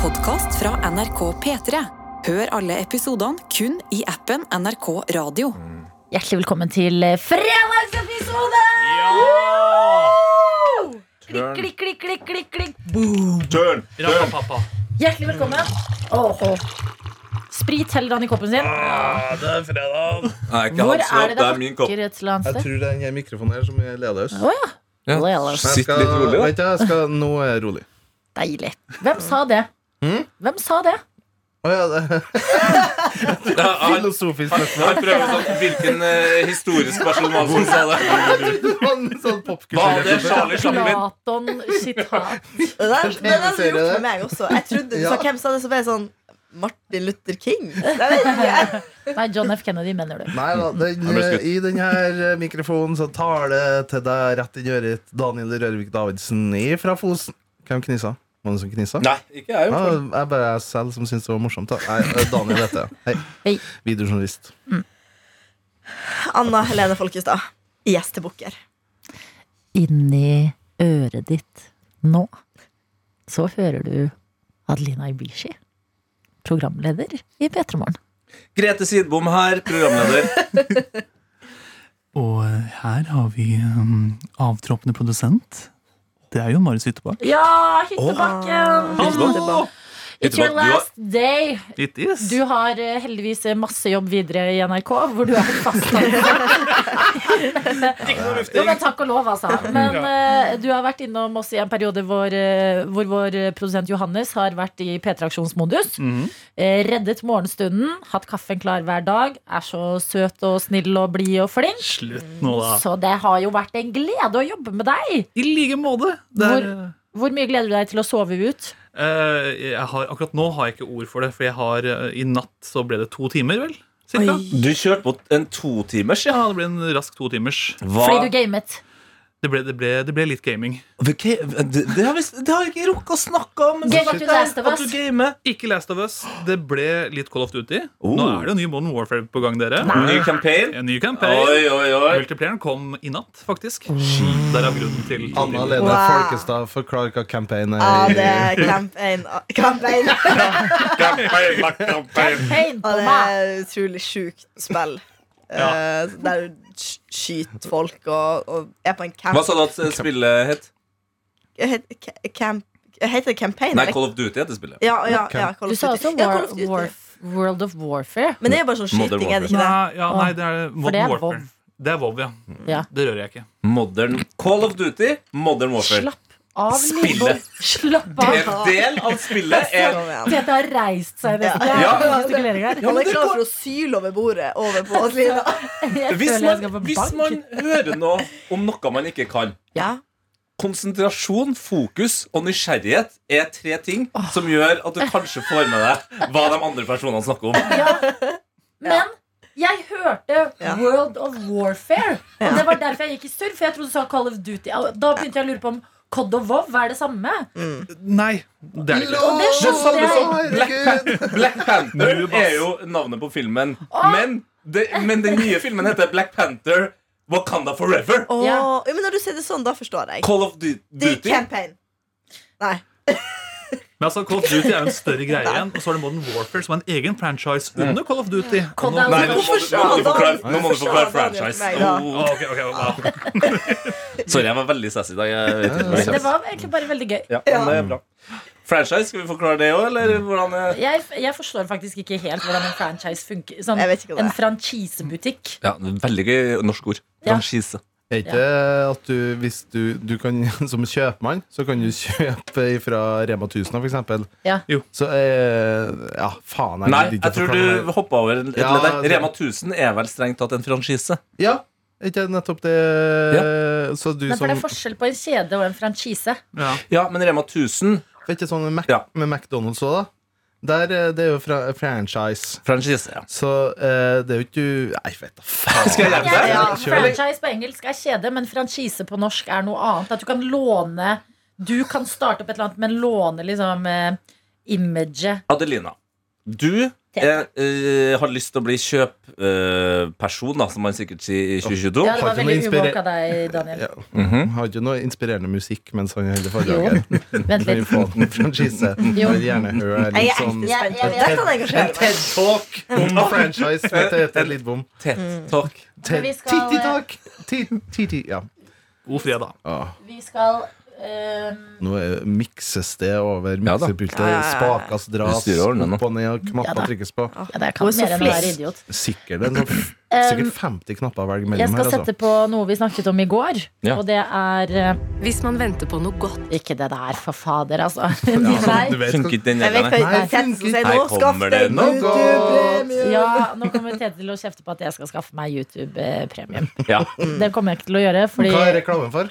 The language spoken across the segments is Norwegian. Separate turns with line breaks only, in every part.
podkast fra NRK P3. Hør alle episodene kun i appen NRK Radio.
Hjertelig velkommen til eh, fredagsepisode! Klikk, klikk, klikk, klikk, klikk, klikk.
Turn!
Rapapappa.
Hjertelig velkommen. Åhå. Sprit heller han i koppen sin.
det er fredag.
Nei, Ah, ikke
Hvor
hans
er det
kopp, det
det
er min kopp.
hakker et eller annet
Jeg
sted?
tror det er den mikrofonen her som er leders.
Å ja.
Ja.
Lellers.
Sitt litt rolig, da.
Vet du, jeg skal, nå er jeg rolig.
Deilig. Hvem sa det?
Hmm?
Hvem sa det?
Å ja, det
Ja, han,
Filosofisk
han,
spørsmål.
han prøver sånn Hvilken eh, historisk person var det som sa det?
Sånn, sånn
Var det
popkultur.
Charlie Chaplin?
Platon-sitat.
Det der, det der
TV-serie,
gjorde
det.
for meg også. Jeg trodde du
Ja.
sa hvem sa det, så ble jeg sånn Martin Luther King. Jeg vet ikke.
Nei, John F. Kennedy, mener du.
Nei da, den, eh,
Jeg ble skutt.
i den her mikrofonen så tar det til deg rett inn i øret. Daniel Rørvik Davidsen fra Fosen. Hvem knisa? Var det noen som knisa?
Nei, ikke jeg. i
Ja,
hvert fall.
jeg er bare jeg selv som syns det var morsomt. Da. Nei, eh, Daniel heter jeg. Hei.
Hei.
Videojournalist.
Anna Helene Folkestad. Gjestebukker.
Inni øret ditt nå så hører du Adelina Ibishi, programleder i P3 Morgen.
Grete Sidbom her, programleder.
Og eh, her har vi um, avtroppende produsent. Det er jo Marius Hyttebakk.
Ja, hyttebakken!
Hallo!
It's your
Hyttebakk, du har-
last day.
It is.
Du har eh, heldigvis masse jobb videre i NRK, hvor du er fast ansatt. Jo, men takk og lov, altså. Men eh, du har vært innom oss i en periode hvor, eh, hvor vår eh, produsent Johannes har vært i P3-aksjonsmodus. Eh, reddet morgenstunden, hatt kaffen klar hver dag, er så søt og snill og blid og flink.
Slutt nå, da.
Så det har jo vært en glede å jobbe med deg.
I like måte. Det er,
Hvor mye gleder du deg til å sove ut?
eh, jeg har, akkurat nå har jeg ikke ord for det, for jeg har, eh, i natt så ble det to timer, vel? Cirka.
Du kjørte på en totimers, ja.
Ja, det ble en rask to timers.
Hva?
Fordi du gamet.
Det ble, det ble, det ble litt gaming.
Ok, Det, det har vi det har vi ikke rukket å snakke om. men
Game
så
of the
fint
Last of Us.
at du gamer.
Ikke Last of Us. Det ble litt Call of Duty.
Oh.
Nå er det jo ny Modern Warfare på gang, dere.
Ny campaign.
En ny campaign.
Oi, oi, oi.
Multiplayeren kom i natt, faktisk. Derav grunnen til
Anna Lene
Wow.
Folkestad, forklar hva campaign er.
Ja, det er Camp 1. Camp 1.
Campaign, campaign.
Pain på
Og det
meg.
er et utrolig sjukt spill. Eh, Der du sk- skyter folk og, og er på en camp
Hva sa du at eh, spillet het?
Het- ca- Camp Heter det campaign?
Nei,
eller?
Call of Duty heter spillet.
ja, ja, ja, Call
Du
of
sa
Duty.
også
Ja, Call
War,
of Duty.
Warf- World of Warfare.
Men det er jo bare sånn
Modern
skyting, er det ikke det?
Nei, ja, nei, det er
For det
Modern
er
Warfare. Det er WoW, ja.
Ja.
Det rører jeg ikke.
Modern Call of Duty, Modern Warfare.
Slapp av,
Spillet.
Lidbom. Slapp av.
En del av spillet er
Kom igjen.
Tete har reist seg. nesten. Det er
Ja.
mye gestikulering her.
Han er klar for å syle over bordet over på Adelina.
Jeg
hvis
føler jeg
man,
skal få
hvis
bank.
man hører noe om noe man ikke kan
Ja.
Konsentrasjon, fokus og nysgjerrighet er tre ting som gjør at du kanskje får med deg hva de andre personene snakker om.
Men jeg hørte
Ja.
World of Warfare,
Ja.
og det var derfor jeg gikk i surr. For jeg trodde du sa Call of Duty. Da begynte jeg å lure på om Cod og WoW er det samme.
Nei, det er det ikke.
Og det
Det sånn, samme
skjønte
som
jeg.
Black, Pan Black Panther
Du, Bass.
er jo navnet på filmen. Men, det, men den nye filmen heter Black Panther Wakanda Forever.
Åh,
Ja.
ja, Men når du sier det sånn, da forstår jeg.
Call of Du-
Det er
Duty.
campaign. Nei.
Men altså, Call of Duty er jo en større greie igjen. Og så er det Modern Warfare, som er en egen franchise under Call of Duty.
Cod er
Nei, nå må
også-
du, nå må du forklare, nå må du forklare franchise.
Å,
Oh,
ok, ok, wow.
sorry, jeg var veldig sassy i dag. Jeg vet ikke hva jeg
Men det
sa.
var egentlig bare veldig gøy.
Ja, men det er bra. Franchise, skal vi forklare det òg, eller hvordan er
Jeg, jeg forstår faktisk ikke helt hvordan en franchise funker. Sånn,
Jeg vet ikke hva det
en
er.
franchisebutikk.
Ja, veldig gøy norsk ord.
Ja.
Franchise.
Er ikke det at du, hvis du, du kan, som kjøpmann, så kan du kjøpe fra Rema 1000 for eksempel?
Ja.
Jo.
Så eh, Ja, faen.
Nei,
gidder ikke
jeg
å
tror
forklare
du hoppa over et
Ja,
ledd der.
det-
Rema 1000 er vel strengt tatt en franchise.
det. Ja, er ikke det nettopp det Så du
Men for
som
det er forskjell på en kjede og en franchise.
Ja.
Ja, men Rema 1000
Er ikke sånn med, Mac,
Ja.
med McDonald's òg, da? Der, eh, det er jo fra, franchise.
Franchise, ja.
Så eh, det er jo ikke du Nei, vet da faen.
Skal jeg hjelpe
Ja,
deg?
Ja,
kjør.
franchise på engelsk er kjede, men franchise på norsk er noe annet. At du kan låne Du kan starte opp et eller annet, men låne liksom eh, imaget.
Adelina. Du eh, eh, har lyst til å bli kjøpperson, da, som man sikkert sier i Mhm. 2022.
Ja, det var
Har ikke noe
veldig
inspirer-
uvåk av deg, Daniel.
Ja. Har ikke noe inspirerende musikk mens han holder foredrag
Jo.
her.
Vent
Kan vi
litt.
få en franchise?
Jo.
Jeg vil gjerne høre
Jeg
litt
er
sånn
ekte spent.
Jeg- jeg vet-
Det kan engasjere meg.
TED-talk om franchise med Tete Lidbom.
Tett talk.
Men vi skal-
Titti-talk! Titti, ja.
God fredag.
Åh,
Vi skal ehm,
Nå er- mikses det over
Ja da.
miksepultet.
Ja, ja, ja.
Spakas dras
Du styrer ordentlig nå.
opp og ned, og
Ja
knapper
da.
trykkes på.
Ja, det er
Hun er
kan
så
mer enn å være
flink.
idiot.
Sikkert, en, sånn-
Um,
sikkert 50 knapper å velge
Jeg
mellom her.
skal
Altså.
sette på noe vi snakket om i går,
Ja.
og det er eh,
Hvis man venter på noe godt
Ikke det der, for fader, altså.
Ja,
De der.
sånn, du vet, skal-
Funket den
Jeg vet
der?
Nei,
hva Tete skal si
funker.
nå.
Her kommer
Skaff
det
deg
noe
YouTube-premie!
Ja, nå kommer Tete til å kjefte på at jeg skal skaffe meg YouTube-premium.
Ja.
Det kommer jeg ikke til å gjøre, fordi
Hva er reklamen for?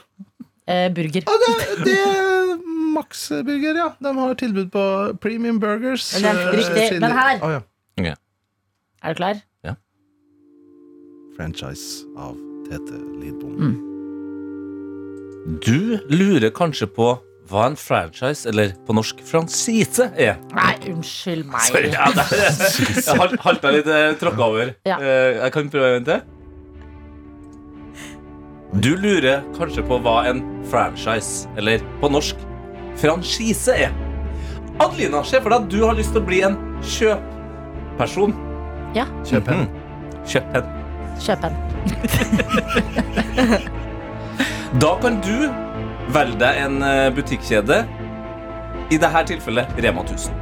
eh, burger.
Ja, det, det er Max Burger, ja. De har tilbud på premium burgers.
Men det er
eh,
riktig,
chili-
men her-
Å, ja.
Er du klar?
Franchise av Tete Lidbom.
Mm.
Du lurer kanskje på hva en franchise, eller på norsk franchise, er.
Nei, unnskyld
Sorry,
meg.
ja, det, jeg hal- halta litt eh, tråkka over.
Ja.
Eh, Jeg kan prøve en til. Du lurer kanskje på hva en franchise, eller på norsk franchise, er. Adelina, se for deg at du har lyst til å bli en kjøpperson. Mhm.
Ja.
Kjøp en.
Kjøp en.
Kjøp en.
Da kan du velge deg en eh, butikkjede. I dette tilfellet Rema 1000.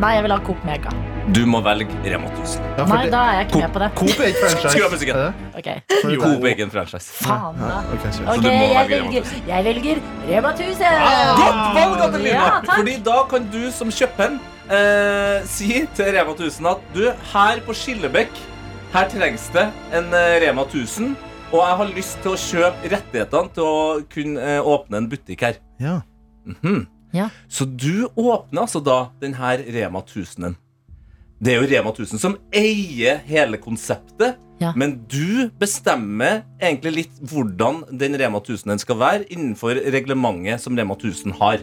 Nei, jeg vil ha Coop Mega.
Du må velge Rema 1000.
Ja, for
Nei,
det-
da er jeg ikke med på det.
Coop er ikke franchise.
Skru av musikken.
Er det?
Ok,
For det
Coop
er-
egen franchise.
faen da.
Ja, ok, kjør.
Så
Ok,
du må
jeg
velge Rema
velger, jeg velger Rema 1000!
Ah,
Godt valg, Adelina!
Ja, takk.
Fordi da kan du som kjøpmann eh, si til Rema 1000 at du, her på Skillebekk, her trengs det en eh, Rema 1000, og jeg har lyst til å kjøpe rettighetene til å kunne eh, åpne en butikk her.
Ja.
Mhm.
Ja.
Så du åpner altså da den her Rema 1000-en. Det er jo Rema 1000 som eier hele konseptet,
Ja.
men du bestemmer egentlig litt hvordan den Rema 1000-en skal være innenfor reglementet som Rema 1000 har.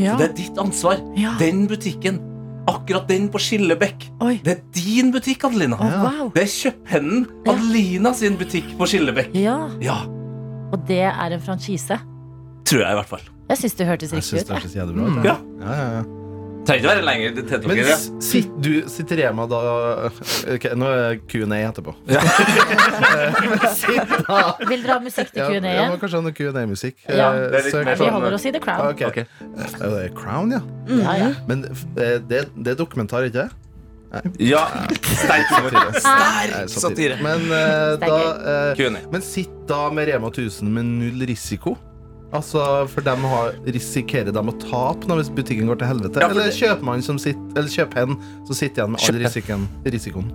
Ja.
Så det er ditt ansvar.
Ja.
Den butikken. Akkurat den på Skillebekk.
Oi.
Det er din butikk, Adelina.
Å, wow.
Det er kjøphennen
Ja.
Adelina sin butikk på Skillebekk.
Ja,
Ja,
og det er en franchise.
tror jeg i hvert fall.
Jeg syns det hørtes
Jeg syns
riktig ut.
det
jeg.
høres jævlig bra ut.
Mm. Ja.
Ja, ja, ja.
Trenger ikke være lenger til
Men
dere.
s- sitt, du, sitter Rema da Ok, Nå er Q&A etterpå.
Ja.
Men sitt da
Vil dere ha musikk til
ja,
Q&A
ja, men
igjen?
Kanskje ha noe Q&A-musikk.
Ja.
Eh,
Det er litt mer
søk
sånn, eh,
på-
Vi holder oss i The Crown. Mm,
Ok.
Ok.
Er det Crown, ja.
Ja, ja.
Men f- eh, det, det er dokumentar, ikke det?
Ja, sterk satire.
Nei,
Sterk
satire.
satire.
Men, eh,
Det er
da, eh,
Q&A.
men sitt da med Rema 1000 med null risiko. Altså, for dem har, Risikerer de å tape nå hvis butikken går til helvete?
Ja, for
eller
det-
kjøpmannen som sitter Eller kjøphen som sitter igjen med all risikoen. risikoen.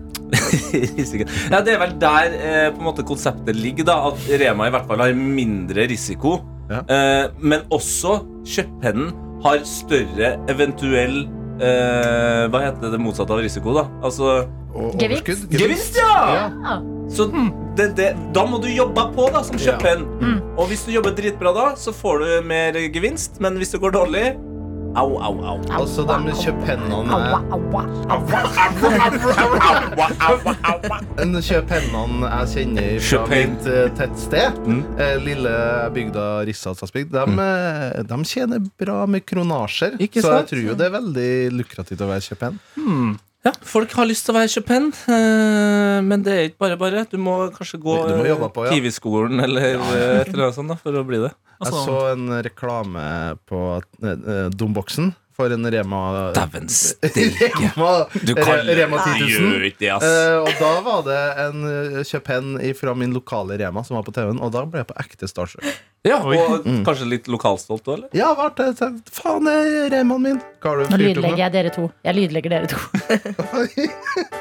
Risikoen. Ja, det er vel der eh, på en måte konseptet ligger, da. At Rema i hvert fall har mindre risiko.
Ja.
Eh, men også kjøphennen har større eventuell eh, Hva heter det motsatte av risiko, da? Altså
Og
Gevinst.
overskudd.
Gevinst, ja!
Ja.
Ja.
Så det, det, da må du jobbe på da som
Ja.
kjøphenn.
Mm.
Og hvis du jobber dritbra da, så får du mer gevinst. Men hvis det går dårlig Au, au, au.
Altså, de kjøphendene
Aua, aua, aua.
En kjøphendene jeg kjenner fra
Kjøphen.
mitt eh, tettsted,
Mm.
eh, lille bygda Rissalsatsbygd, de, eh, de tjener bra med kronasjer.
Ikke
så jeg
sant?
tror jo det er veldig lukrativt å være kjøphenn.
Ja, folk har lyst til å være kjøphenn, eh, men det er ikke bare bare. Du må kanskje gå
Du må
eh,
jobbe på, ja.
Kiwi-skolen eller eh, et eller annet sånt da, for å bli det.
Jeg så en reklame på eh, eh, Domboksen for en Rema
Dæven steike.
Rema,
Du kan
Re- Rema 10 000.
Gjør ikke det, ass.
Eh, og da var det en eh, kjøphenn fra min lokale Rema som var på TV-en, og da ble jeg på ekte starstruck.
ja, og kanskje litt lokalstolt òg, eller?
Ja, hva er det? Faen, det er Remaen min! Hva har
Nå
du fyrt opp med?
lydlegger jeg dere to. Jeg lydlegger dere to.
Da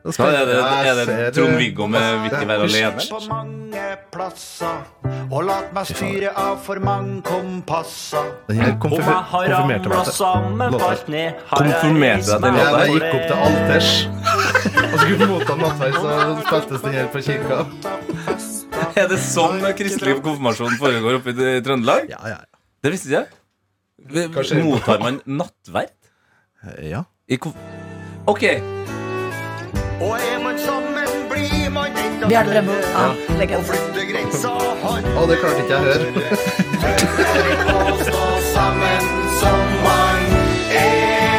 Ja,
spør-
er det,
Ja,
er det
ser eh, du.
Trond-Viggo med Vitt i vær alene?
på mange plasser og latt meg styre av for mange kompasser.
Den her
Om
konfirmer,
jeg har
konfirmerte
ramla
meg til.
sammen,
Låter.
falt ned har jeg
Konfirmerte
reist
deg til
meg
Ja, da
låta?
opp.
jeg gikk opp til alters og skulle motta nattverd, så spiltes den her på kirka.
Er det sånn kristelig konfirmasjon foregår oppe i Trøndelag?
Ja, ja,
Det visste ikke jeg. Mottar man nattverd?
ja. ja.
I konf OK.
Og er man sammen, blir man enda
Bjarne Brembo.
større.
Ja,
Og
legende.
flytter grensa har
Å, det klarte ikke jeg å høre.
Og stå sammen som man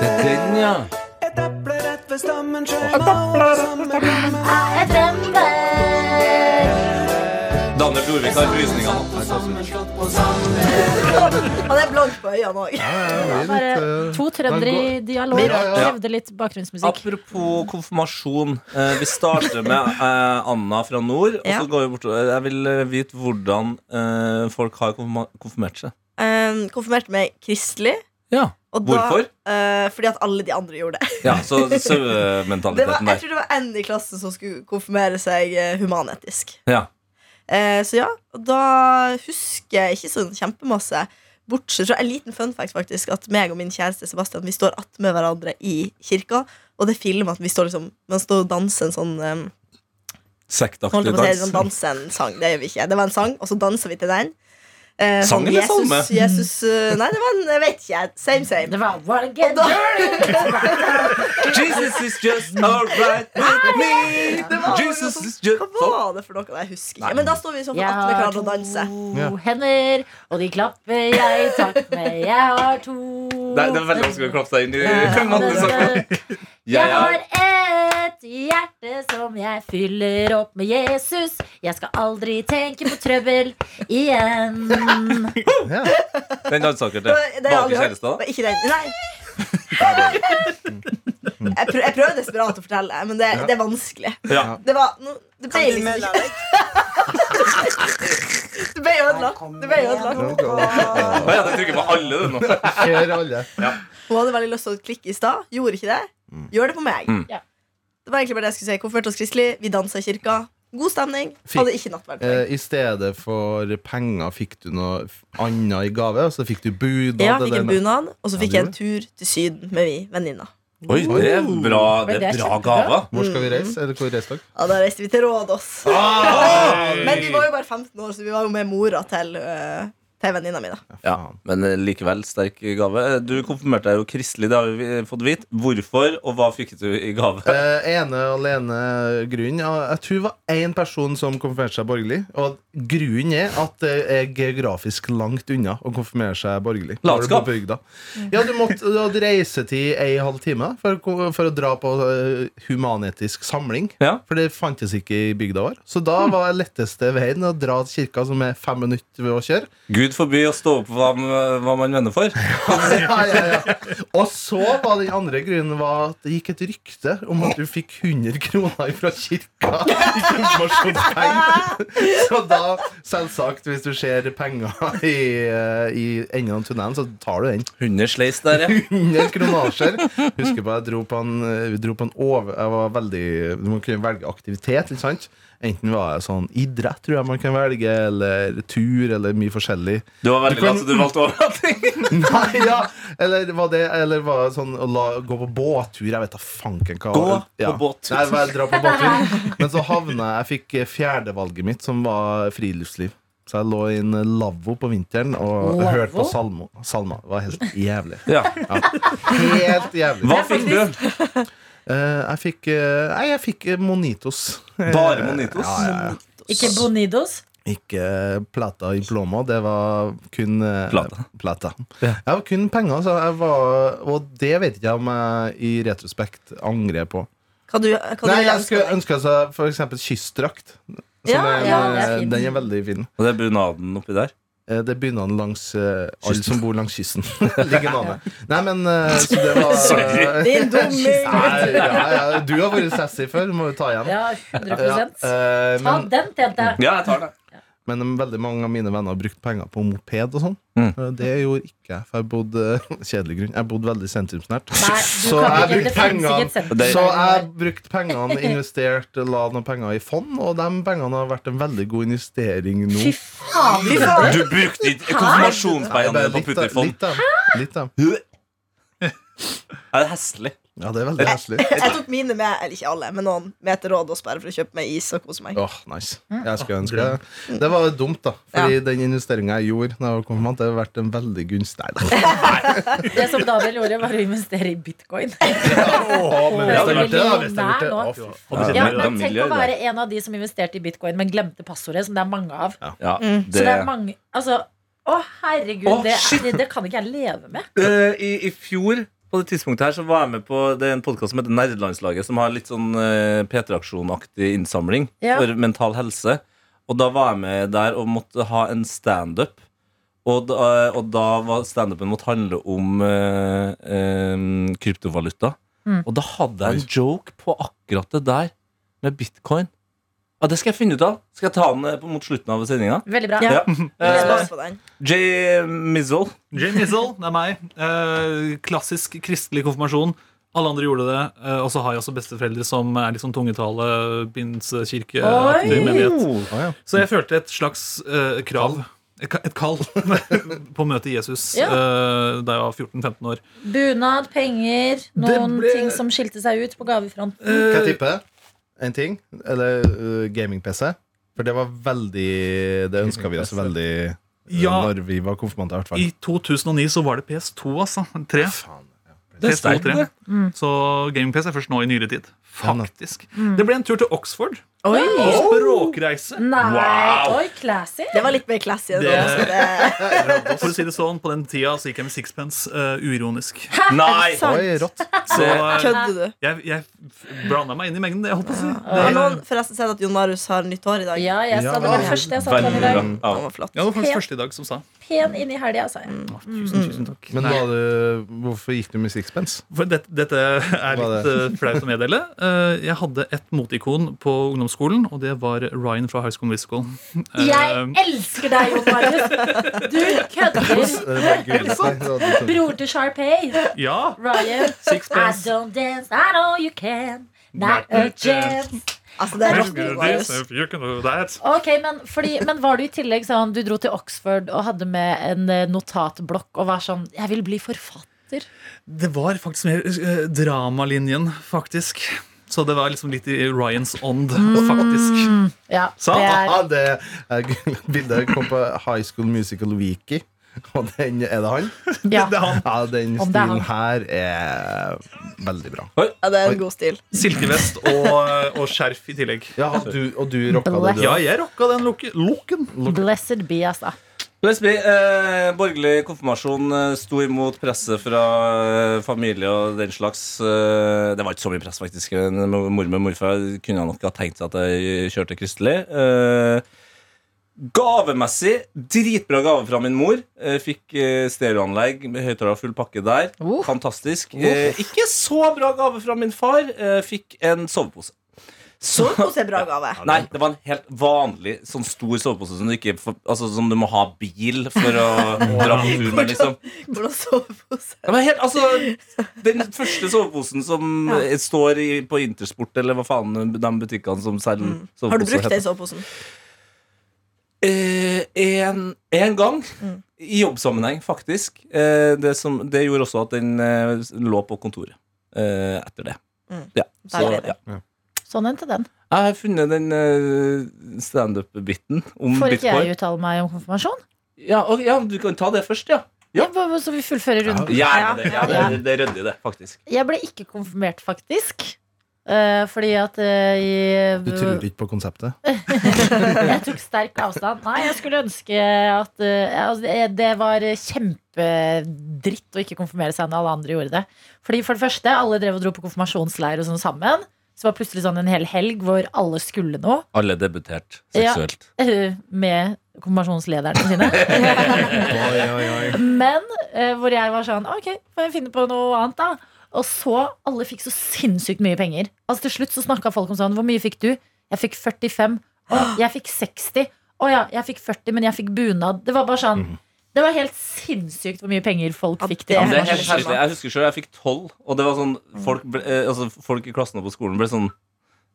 Det er den, ja. Daniel Brorvik har frysningene.
Han er blank på øynene òg.
Bare to trøndere i dialog.
eh, Ja, ja, ja.
Krevde litt bakgrunnsmusikk.
Apropos konfirmasjon. Eh, vi starter med eh, Anna fra nord. Og
Ja.
så går vi bortover. Jeg vil eh, vite hvordan eh, folk har konfirma konfirmert seg.
Um, konfirmerte meg kristelig.
Ja.
og
Hvorfor?
eh, fordi at alle de andre gjorde det.
Ja, så
det var, jeg
sauementaliteten der.
tror det var en i klassen som skulle konfirmere seg eh, humanetisk.
Ja.
Eh, så ja, og da husker jeg ikke sånn kjempemasse. Bortsett fra en liten fun fact, faktisk, at meg og min kjæreste Sebastian Vi står attmed hverandre i kirka, og det filmer at vi står liksom Man står og danser en sånn um, holdt
Sektaktig
jeg på å si,
dans.
sånn danse en sang. Det gjør vi ikke. Det var en sang, og så danser vi til den. Eh,
Sang
sånn
eller
Jesus,
salme? Sånn.
Jesus, eh, Nei, det var en Jeg vet ikke. Same, same.
Det var Wanna Get
da-
Dirty!
Jesus is just alright
Ah,
with me.
var-
Jesus is just
Hva var det for noe? Jeg husker ikke. Men da står vi sånn
Jeg
for attmed
har to
hverandre og danser.
Ja.
hender, og de klapper jeg takk med. Jeg har to
Nei, det er veldig vanskelig å klappe seg inn i Magnus.
sånn.
Jeg
Jeg
har
er
et hjerte som jeg fyller opp med Jesus. Jeg skal aldri tenke på trøbbel igjen.
Ja.
den dansaker
Det
til.
var- det har jeg
Var
aldri
ikke
hørt.
kjæreste, da?
Var Ikke den. Nei. Mm. Jeg, prøv, jeg prøver desperat å fortelle, men det, det er vanskelig.
Ja.
Det var no, Det ble liksom ikke Det ble ødelagt. Det ble ødelagt.
Å ja, det trykker på alle, du, nå.
Kjør alle.
Hun hadde veldig lyst til å klikke i stad. Gjorde ikke det. Gjør det på meg.
Mm.
Ja.
Det var egentlig bare det jeg skulle si. Konfirmerte oss kristelig. Vi dansa i kirka. God stemning.
Fint.
Hadde ikke nattverd. for meg.
Eh, I stedet for penger fikk du noe f- annet i gave. Altså fikk du bunad.
Ja, fikk en
eller-
bunad, og så fikk
Ja,
jeg en tur til Syden med vi venninna.
Oi, det er bra, det
Det
er
er kjempebra.
bra gaver.
Hvor skal
Mm,
vi reise? Eller hvor reiste dere?
Ja, Da reiste vi til Rådås. Men vi var jo bare 15 år, så vi var jo med mora til, øh, til venninna mi. da
Ja, Men eh, likevel sterk gave. Eh, Du konfirmerte deg jo kristelig, det har vi eh, fått vite. Hvorfor, og hva fikk du i gave?
Eh, ene og alene grunn ja, Jeg tror det var én person som konfirmerte seg borgerlig. Og grunnen er at det er geografisk langt unna å konfirmere seg borgerlig. Da var det på
Latskap.
bygda. Ja, du måtte du hadde reisetid ei halv time for, å ko- for å dra på eh, humanetisk samling.
Ja.
For det fantes ikke i bygda vår. Så da var letteste veien å dra til kirka, som er fem minutter ved å kjøre.
Gud forby å stå opp for hva, m- hva man venner for.
ja, ja, ja. Og så var den andre grunnen var at det gikk et rykte om at du fikk 100 kroner fra kirka i konfirmasjonspenger. Så da, selvsagt, hvis du ser penger i, eh, i enden av tunnelen, så tar du den.
Hundesleis der, ja.
100 kronasjer. Husker på jeg dro på en, vi dro på en over... Jeg var veldig Du må kunne velge aktivitet, ikke sant? Enten var jeg sånn idrett, tror jeg man kan velge, eller tur, eller mye forskjellig.
Du var veldig
Du kan-
glad så du valgte overnatting.
Nei, ja Eller var det Eller var det sånn å la, gå på båttur? Jeg vet da fanken hva
Gå
ja.
på båttur.
Nei, bare dra på båttur Men så havna jeg Jeg fikk eh, fjerdevalget mitt Som var friluftsliv Så jeg lå i en lavvo på vinteren Og
Lavvo?
hørte på salmo, salma Det var helt jævlig
Ja.
Helt jævlig
Hva fikk du?
Eh, Jeg fikk eh, Nei, jeg fikk eh, monitos Eh,
Bare monitos?
Ja, ja, ja
Ikke Bonidos.
Ikke eh, plata i plomma, det var kun eh,
Plata.
plata. Jeg var kun penger, så jeg var, og det vet ikke jeg om jeg i retrospekt angrer på.
Hva du, hva
Nei,
du
jeg
ønsker
skulle
deg?
ønske seg for eksempel kyssdrakt. som
Ja,
er en,
ja, det er
eh,
fin.
den er veldig fin.
Og det er bunaden oppi der.
Eh, Det begynner langs eh, alle
Kysten.
som bor langs kysten. Ligger navnet. Nei, men eh, så det var
Sorry.
Din dumming!
Nei, ja, ja, du har vært sassy før, må vi ta igjen.
Ja, 100
eh,
Ta
men,
den, tjente jeg.
Ja, jeg tar det.
Men veldig mange av mine venner har brukt penger på moped og sånn.
Mm.
Eh, Det gjorde ikke jeg, for jeg bodde eh, kjedelig grunn. Jeg bodde veldig sentrumsnært.
Nei, du
Så
kan
jeg
ikke. Det
brukte
finnes ikke
pengene
et senter.
Det-
Så jeg brukte pengene, investerte, la noen penger i fond, og de pengene har vært en veldig god investering nå.
Fy faen.
Fy faen.
Du brukte ikke
Nei,
konfirmasjonspengene
bare
dine på
litt av-
Puttifond.
litt av- Litt av.
Det er hestlig.
Ja, det er veldig heslig.
Jeg tok mine med, eller ikke alle, men noen med til råd og spare for å kjøpe meg is og kose meg.
Åh, nice.
Mm.
Jeg skulle ønske det. Det var dumt, da. Fordi den investeringa jeg gjorde, når jeg var konfirmant, det har vært en veldig gunstig Nei, da.
Det som Daniel gjorde, var å investere i bitcoin.
men hvis jeg hadde gjort det, da, hvis jeg
Millionær
hadde
nå.
gjort det. Å, fy
Hadde
Ja, men
sett meg ut av
tenk å
miljøet, da.
være en av de som investerte i bitcoin, men glemte passordet, som det er mange av. Så
Ja,
det er
Mm. det,
mange Altså, å herregud,
Å,
det,
shit.
er, det kan ikke jeg leve med.
Eh, i, I fjor på det tidspunktet her, så var jeg med på Det er en podkast som heter Nerdelandslaget, som har litt sånn eh, P3-aksjonaktig innsamling
Ja.
for mental helse. Og da var jeg med der og måtte ha en standup. Og da, eh, og da var standupen måtte handle om eh, eh, kryptovaluta. Og da hadde jeg en joke på akkurat det der med bitcoin. Ja, det skal jeg finne ut av. Skal jeg ta den eh, på- mot slutten av sendinga?
Veldig bra.
Ja.
Eh,
Spar på den.
Jay Mizzle.
Jim Izzle, det er meg. Eh, klassisk kristelig konfirmasjon. Alle andre gjorde det. Eh, og så har jeg også besteforeldre som er litt sånn tungetale, pinsekirke aktig
Oi!
menighet.
ja.
Så jeg følte et slags eh, krav. Et ka- et kall på å møte Jesus
Ja.
eh, da jeg var 14-15 år.
Bunad, penger, noen
ble-
ting som skilte seg ut på gavefronten.
Kan jeg tippe en ting? Eller øh, gaming-PC? For det var veldig Det ønska vi oss veldig øh,
Ja.
når vi var konfirmanter, i hvert fall.
I 2009 så var det PS2, altså. Tre.
Det er
PS2 og
sterkt,
tre.
det.
Mm.
Så gaming-PC er først nå i nyere tid.
da.
Faktisk. Det ble en tur til Oxford.
Mm. Oi!
Og språkreise.
Nei!
Wow.
Oi, classy!
Det var litt mer classy enn
Det-
det. så det-
For å si det sånn, på den tida så gikk jeg med sixpence, eh, uironisk.
Nei!
Oi, rått.
Så eh,
Kødder du?
jeg, jeg blanda meg inn i mengden, det, jeg holdt på å si.
Har
Det,
noen forresten sett at Jon Marius har nytt hår i dag?
Ja, jeg sa det var
Ja.
først jeg sa det
Veldig
i dag.
bra. Ja.
Han var flott.
ja, det var faktisk første i dag som sa.
Pen inn i helga, sa jeg.
Å, Tusen, tusen takk.
Men
Nei,
var det, hvorfor gikk du med sixpence?
for dette, dette er
Hva er
litt eh, flaut å meddele. Eh, jeg hadde et moteikon på ungdomsskolen, og det var Ryan fra High School Musical. Eh,
Jeg elsker deg, Jon Marius! Du kødder!
Det var gul, det
Bror til Sharpay.
ja,
Ryan. I
sixpence.
don't dance, I know you can. Not a chance.
Altså, det er rått, Jon Marius.
You can do that.
Ok, men, fordi, men var du i tillegg sånn Du dro til Oxford og hadde med en eh, notatblokk og var sånn Jeg vil bli forfatter.
Det var faktisk mer eh, dramalinjen, faktisk. Så det var liksom litt i Ryans ånd, faktisk.
Ja,
Sant.
det er
Ja, det jeg- Bildet kom på High School Musical Wiki. Og den, er det han?
ja.
Ja, den
Om det er
stilen her er veldig bra.
Ja, det er en god stil.
Silkevest og, og skjerf i tillegg.
Ja, og du, og du rocka det, du.
Ja, jeg rocka den lukke- looken.
Blessed be, altså.
Lesbi, eh, borgerlig konfirmasjon eh, sto imot presset fra eh, familie og den slags. Eh, det var ikke så mye press, faktisk. En Mor mor med morfar kunne nok ha tenkt seg at jeg kjørte kristelig. Eh, gavemessig dritbra gave fra min mor. Eh, fikk eh, stereoanlegg med høyttaler og full pakke der.
Uh.
Fantastisk. Eh, ikke så bra gave fra min far. Eh, fikk en sovepose. Så
Kos er bra gave.
Nei, det var en helt vanlig sånn stor sovepose som du, ikke, får- altså, som du må ha bil for å dra på tur med. Liksom.
Hvordan sovepose?
Det var helt, altså, den første soveposen som eh, står i, på Intersport, eller hva faen de butikkene som selger soveposer
Mm. Har du brukt den
heter.
soveposen?
Eh, en, en gang.
Mm.
I jobbsammenheng, faktisk. Eh, det, som, det gjorde også at den eh, lå på kontoret eh, etter det.
Mm.
Ja. Så,
Deilig.
ja.
Sånn endte den.
Jeg har funnet den eh, standup-biten
Mm,
om
Får ikke
bitcoin.
jeg uttale meg om konfirmasjon?
Ja, og, ja, du kan ta det først, ja. Ja.
Jeg bare- Så vi fullfører runden.
Gjerne det. Ja,
Ja.
det, det er ryddig, det, faktisk.
Jeg ble ikke konfirmert, faktisk. Eh, fordi at eh, jeg,
Du trodde ikke på konseptet?
jeg tok sterk avstand. Nei, jeg skulle ønske at eh, altså, det- Det var kjempedritt å ikke konfirmere seg når alle andre gjorde det. Fordi For det første, alle drev og dro på konfirmasjonsleir og sånn sammen. Så var det plutselig sånn en hel helg hvor alle skulle noe.
Alle er debutert
Ja.
seksuelt.
eh, Med konfirmasjonslederne sine.
Oi, oi, oi.
Men eh, hvor jeg var sånn Ok, får jeg finne på noe annet da Og så, alle fikk så sinnssykt mye penger Altså til slutt så snakket folk om sånn Hvor mye fikk du? Jeg fikk 45 «Å, Jeg fikk 60 Å ja, jeg fikk 40, men jeg fikk bunad Det var bare sånn Det var helt sinnssykt hvor mye penger folk
Ja,
fikk
det
til
er
Det er
konfirmasjon.
helt herlig. Jeg husker selv, jeg fikk tolv, og det var sånn folk, ble, eh, altså, folk i klassen og på skolen ble sånn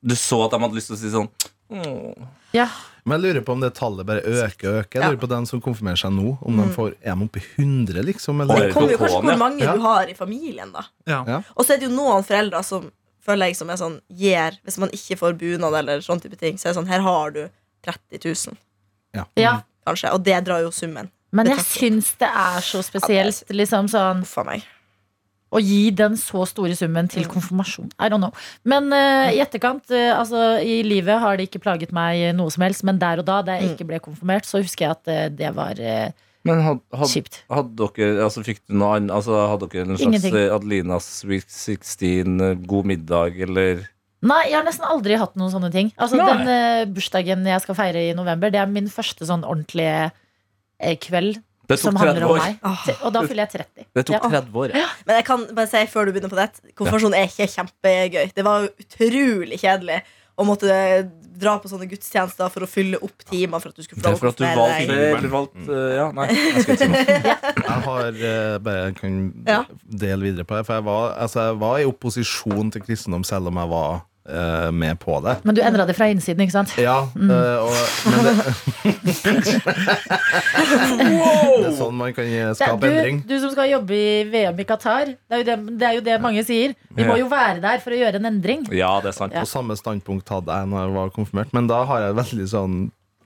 Du så at de hadde lyst til å si sånn «Åh,
Ja.
Men jeg lurer på om det tallet bare øker og øker. Jeg lurer på den som konfirmerer seg nå, om
Mm.
de får Er de oppe i 100, liksom?
Oi.
Eller?
Det kommer jo kanskje
Ja.
hvor mange
Ja.
du har i familien, da.
Ja.
Ja.
Og så er det jo noen foreldre som føler jeg som er sånn gir Hvis man ikke får bunad eller sånn type ting, så er det sånn Her har du 30 000,
ja.
kanskje. Og det drar jo summen.
Men jeg syns det er så spesielt liksom sånn,
Uff a meg.
å gi den så store summen til konfirmasjon. I don't know. Men eh, i etterkant, eh, altså i livet har det ikke plaget meg eh, noe som helst, men der og da, da
Mm.
jeg ikke ble konfirmert, så husker jeg at eh, det var eh,
Men had, had,
kjipt.
hadde dere altså Fikk du noe annet altså, Hadde dere en slags
Ingenting.
eh, Adelinas Sweet 16, eh, god middag eller
Nei, jeg har nesten aldri hatt noen sånne ting. Altså,
Nei.
den eh, bursdagen jeg skal feire i november, det er min første sånn ordentlige eh, kveld
Det tok
som handler
30
om
år.
meg. Og da fyller jeg 30.
Det tok
Ja.
30 år. Ja.
Men jeg kan bare si før du begynner på det konfirmasjon er ikke kjempegøy. Det var jo utrolig kjedelig å måtte dra på sånne gudstjenester for å fylle opp timer. For at du skulle få lov
Det er
å
for at du
konfirmere
valgte,
deg.
eller valgte eh, Ja, nei, jeg skal ikke si noe.
Jeg har eh, bare jeg kan
Ja.
dele videre på det. For jeg var, altså, jeg var i opposisjon til kristendom, selv om jeg var eh, med på det.
Men du endra det fra innsiden, ikke sant?
Ja, eh, og, men det, det er sånn man kan eh,
Det er
skape endring.
Du, du som skal jobbe i VM i Qatar, det er jo det, det, er jo det mange sier. Vi må jo være der for å gjøre en endring.
Ja, det er sant.
Og samme standpunkt hadde jeg når jeg var konfirmert. Men da har jeg veldig sånn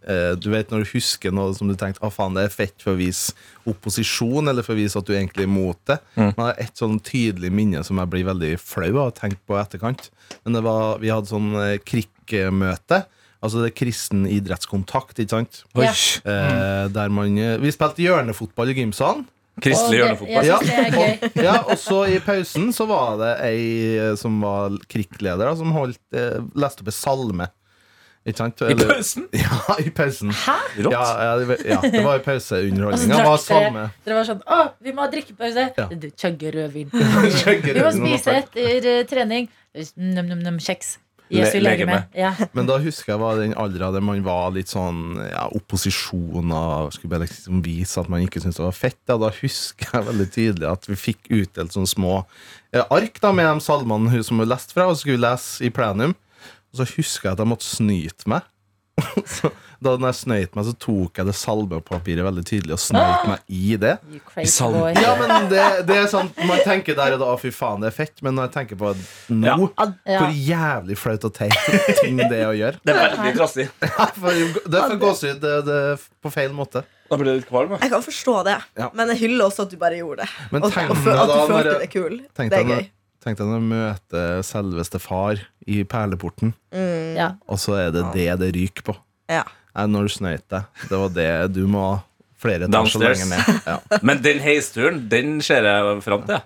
eh, Du vet når du husker noe som du tenkte Å faen, det er fett for å vise opposisjon, eller for å vise at du egentlig er imot det. Men det er et sånn tydelig minne som jeg blir veldig flau av å tenke på i etterkant. Men det var, vi hadde sånn eh, krikkmøte. Altså det er kristen idrettskontakt, ikke sant?
Ja.
Eh, der man, eh, vi spilte hjørnefotball i gymsalen.
Og
Kristelig
det- Jeg
hjørnefotball.
synes det er gøy.
Og, ja, og så i pausen så var det ei eh, som var krikkleder, da, som holdt, eh, leste opp en salme. Ikke sant?
I
Eller-
pausen!
Ja, i pausen.
Hæ?
Rått.
Ja, ja, det, ja, det var i
Og så
pauseunderholdninga. Det var
Altså, drakk dere.
salme.
Dere var sånn Å, vi må ha drikkepause.
Ja.
Du chugger rødvin.
Skjegger
Vi må
i øynene.
spise etter eh, trening. Num-num-num, kjeks.
Le-
Jesu legeme.
legeme.
Ja.
Men da husker jeg var den aldra der man var litt sånn ja, opposisjon og skulle bare liksom vise at man ikke syntes det var fett. Ja, da husker jeg veldig tydelig at vi fikk utdelt sånne små eh, ark da, med de salmene hun som hun leste fra, og skulle lese i plenum. Og så husker jeg at jeg måtte snyte meg. Så da når jeg snøyt meg, så tok jeg det salmepapiret veldig tydelig og snøyt meg i det.
You crazy
Salm.
boy.
Ja, men det, det er sånn Man tenker der og da, «Å, fy faen, det er fett, men når jeg tenker på det nå
Ja.
Ja.
Hvor jævlig flaut og teit ting det er å gjøre.
Det er veldig trassig.
For, det er for gåsehud det, det, er på feil måte.
Da blir jeg litt kvalm. jeg.
Jeg kan forstå det,
Ja.
men jeg hyller også at du bare gjorde det.
Men
Og,
tenk
og
deg
fø- at du
da når
følte
jeg-
det kul.
Tenk
Det er
deg når-
gøy.
Tenk deg når du møter selveste far i perleporten,
Ja.
og så er det det det ryker på.
Ja.
Nei, når du snøyt deg. Det var det du må flere etasjer
Downstairs.
lenger ned. Ja.
Men den heisturen, den ser jeg fram til.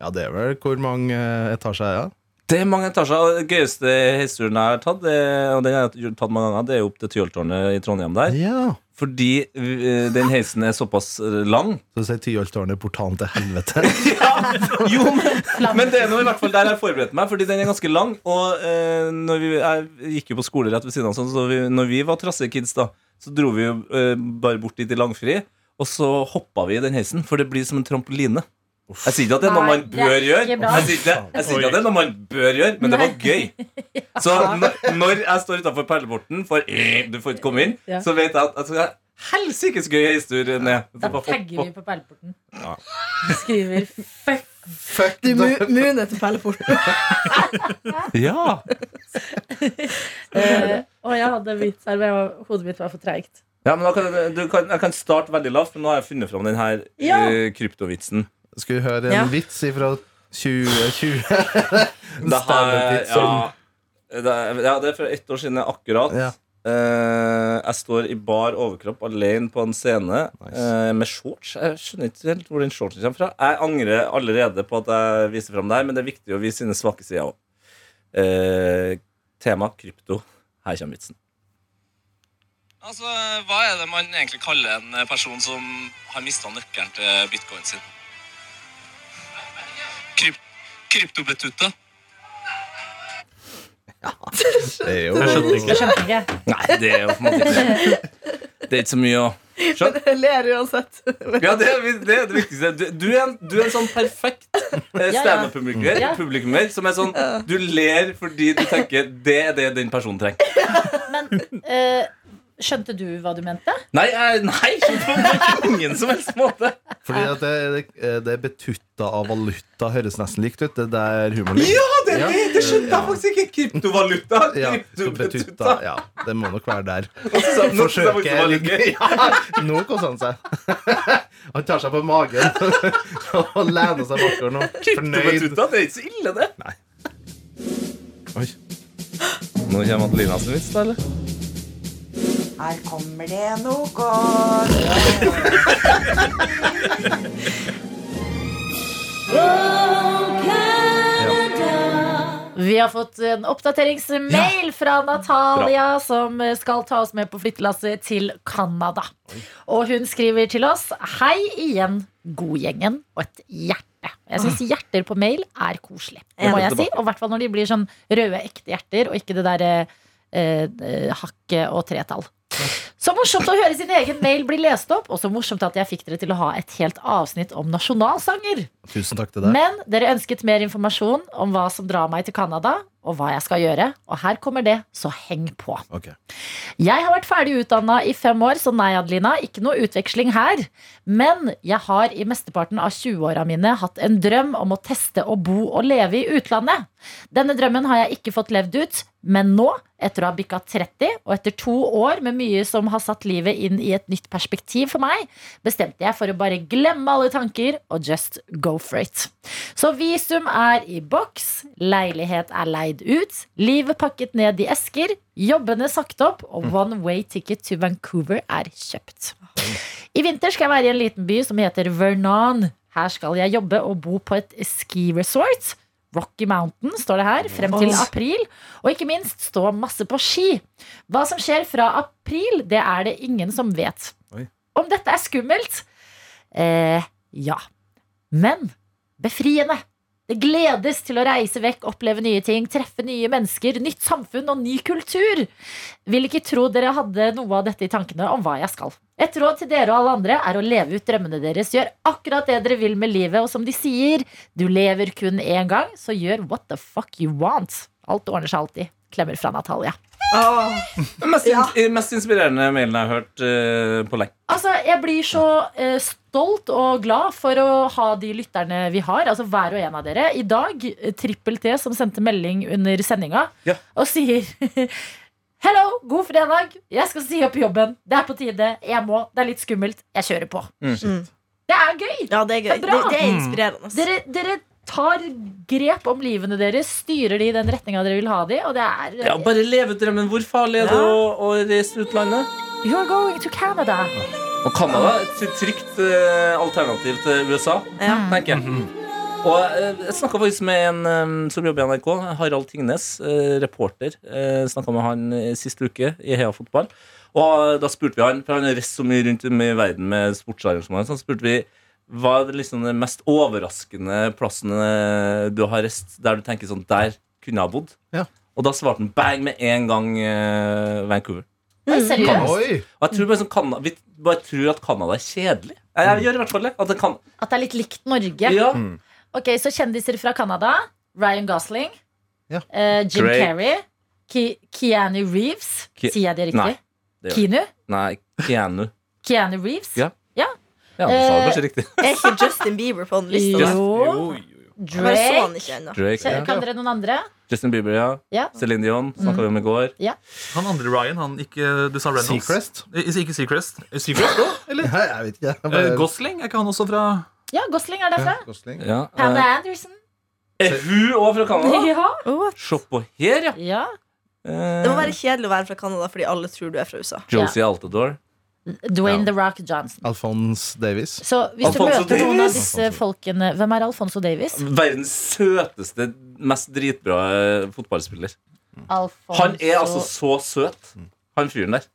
ja, det er vel hvor mange eh, etasjer er det?
Det er mange etasjer. og Den gøyeste heisturen jeg har tatt, det- og den har jeg tatt mange ganger, det er jo opp til Tyholttårnet i Trondheim der.
Ja.
Fordi eh, den heisen er såpass eh, lang.
Så du sier Tyholttårnet, portalen til helvete.
Jo, men, men det er nå i hvert fall der jeg forberedte meg, fordi den er ganske lang. Og eh, når vi, jeg gikk jo på skole rett ved siden av, sånn, så vi, når vi var trassige kids, da, så dro vi jo eh, bare bort dit i langfri, og så hoppa vi i den heisen, for det blir som en trampoline. Jeg sier ikke at det er noe
Nei,
man
det er
bør gjøre,
ikke bra.
Jeg sier ikke, jeg sier ikke at det er noe man bør gjøre men det var gøy. Så når, når jeg står utafor perleporten, for eh, du får ikke komme inn,
Ja.
så vet jeg at altså, jeg- Helsike så gøy heistur eh, ned. Så
Da
bare hopp
tagger vi
opp.
på perleporten. Skriver fuck.
Fuck
Du
det.
mu- munet til perleporten.
Ja!
Eh, og jeg hadde hvit serv, jeg var- hodet mitt var for treigt.
Ja, men da kan, jeg- du kan, Jeg kan starte veldig lavt, men nå har jeg funnet fram den her
Ja.
eh, kryptovitsen.
Skal vi høre en
Ja.
vits fra 2020?
Det her,
Standardvits om-
ja, det, er- ja, det er fra ett år siden akkurat.
Ja.
Eh, jeg står i bar overkropp alene på en scene
Nice.
eh, med shorts. Jeg skjønner ikke helt hvor den shortsen kommer fra. Jeg angrer allerede på at jeg viser fram det her, men det er viktig å vise sine svake sider òg. tema krypto. Her kommer vitsen. Altså, Hva er det man egentlig kaller en person som har mista nøkkelen til bitcoin sin? Kryptobetutta.
Det er
Jeg
jo
skjønner ikke.
Jeg skjønte ikke.
Nei, det er jo på en måte ikke Det er ikke så mye å skjønne.
Jeg ler uansett.
Ja, det er, det, er det viktigste. Du, du, er en, du er en sånn perfekt eh,
ja.
standup-publikummer
Ja.
publikummer som er sånn Du ler fordi du tenker det er det den personen trenger.
Men eh, skjønte du hva du mente?
Nei, jeg- nei på ingen som helst måte.
Fordi at det, det, det er betutta av valuta høres nesten likt ut. Det er der humoren ligger.
det,
Ja.
det, det skjønte jeg faktisk ikke. Kryptovaluta.
Ja, betutta.
Kryptobetutta.
Ja, det må nok være der.
Og så sa han, nå skal jeg
Forsøket
vise hva det
ligger
er.
ja, Nå koser han seg. Han tar seg på magen og lener seg bakover nå. Fornøyd.
Kryptobetutta, det er ikke så ille, det.
Oi.
Nå kommer Adelina sin vits, da, eller?
Her kommer det noe godt.
Vi har fått en oppdateringsmail fra Natalia, som skal ta oss med på flyttelasset til Canada. Og hun skriver til oss Hei igjen, godgjengen og et hjerte. Jeg syns hjerter på mail er koselig. Ah. Det må jeg si. Og i hvert fall når de blir sånn røde, ekte hjerter, og ikke det derre eh, eh, hakket og tretall. Så morsomt å høre sin egen mail bli lest opp, og så morsomt at jeg fikk dere til å ha et helt avsnitt om nasjonalsanger.
Tusen takk til deg.
Men dere ønsket mer informasjon om hva som drar meg til Canada, og hva jeg skal gjøre. Og her kommer det, så heng på.
Ok.
Jeg har vært ferdig utdanna i fem år, så nei, Adelina, ikke noe utveksling her. Men jeg har i mesteparten av 20-åra mine hatt en drøm om å teste å bo og leve i utlandet. Denne drømmen har jeg ikke fått levd ut, men nå, etter å ha bikka 30, og etter to år med mye som har satt livet inn i et nytt perspektiv for meg, bestemte jeg for å bare glemme alle tanker og just go for it. Så visum er i boks, leilighet er leid ut, livet pakket ned i esker, jobbene sagt opp, og one way ticket to Vancouver er kjøpt. I vinter skal jeg være i en liten by som heter Vernon. Her skal jeg jobbe og bo på et ski resort. Rocky Mountain står det her, frem til april. Og ikke minst stå masse på ski. Hva som skjer fra april, det er det ingen som vet.
Oi.
Om dette er skummelt? Eh, ja. Men befriende. Det gledes til å reise vekk, oppleve nye ting, treffe nye mennesker, nytt samfunn og ny kultur. Vil ikke tro dere hadde noe av dette i tankene om hva jeg skal. Et råd til dere og alle andre er å leve ut drømmene deres. Gjør akkurat det dere vil med livet, og som de sier, du lever kun én gang, så gjør what the fuck you want. Alt ordner seg alltid. Klemmer fra Natalia.
Den mest, in mest inspirerende mailen jeg har hørt eh, på lenge.
Altså, Jeg blir så eh, stolt og glad for å ha de lytterne vi har. Altså hver og en av dere. I dag, eh, Trippel T som sendte melding under sendinga
Ja.
og sier Hello, god fredag. Jeg skal si opp jobben. Det er på tide. Jeg må. Det er litt skummelt. Jeg kjører på.
Mm.
Det er gøy!
Ja, det er gøy.
Det er bra.
Det, det er
Mm.
inspirerende. ass.
Dere, dere tar grep om livene deres, styrer de i den retninga dere vil ha de, og det er
Ja, bare leve ut drømmen. Hvor farlig er det
Ja.
å, å reise til utlandet?
You're going to Canada.
Og Canada er et trygt eh, alternativ til USA,
Ja.
tenker jeg. Og eh, jeg snakka faktisk med en eh, som jobber i NRK, Harald Tingnes, eh, reporter. Uh, snakka med han eh, sist uke i Heia Fotball. Og eh, da spurte vi han, for han reiser så mye rundt om i verden med sportsarrangementer, så han spurte vi hva er det liksom den mest overraskende plassen eh, du har reist, der du tenker sånn Der kunne jeg ha bodd.
Ja.
Og da svarte han bang med en gang eh, Vancouver.
Oi, seriøst.
Oi!
Og jeg tror bare, sånn, Canada- vi bare tror at Canada er kjedelig. Jeg, jeg gjør i hvert fall det. At det kan,
At det er litt likt Norge.
ja.
Ok, så kjendiser fra Canada. Ryan Gosling.
Ja.
eh, Jim
Drake.
Carrey. Ki Keanu Reeves.
Ki-
Sier jeg det riktig?
Nei, det gjør
Keanu?
Nei, Keanu.
Keanu Reeves?
Ja. Ja, du
Eh,
sa det kanskje riktig.
Er ikke Justin Bieber på den lista?
Jo.
der? Jeg bare så han
Drake.
ikke ennå.
Drake,
Kje-
ja.
Kan dere noen andre?
Justin Bieber, ja.
Ja.
Céline Dion snakka vi om i går.
Han andre Ryan, han ikke Du sa Reynolds.
Seacrest?
Eh, Ikke Seacrest. Eh, Seacrest òg, eller?
Nei, jeg vet ikke. Jeg
Eh,
bare-
Gosling, er ikke han også fra
ja, Gosling er derfra.
Gosling.
Ja.
Pamela
eh,
Anderson.
Er hun òg fra Canada?
Ja.
Se på her, ja.
ja.
Eh,
Det må være kjedelig å være fra Canada fordi alle tror du er fra USA.
Josie Altador.
Dwayne The Rock Johnson.
Alphonse Davis.
Så hvis du
Alfonso
møter noen av
Davies.
disse folkene Hvem er Alfonso Davies?
Verdens søteste, mest dritbra eh, fotballspiller.
Alfonso
Han er altså så søt, han fyren der.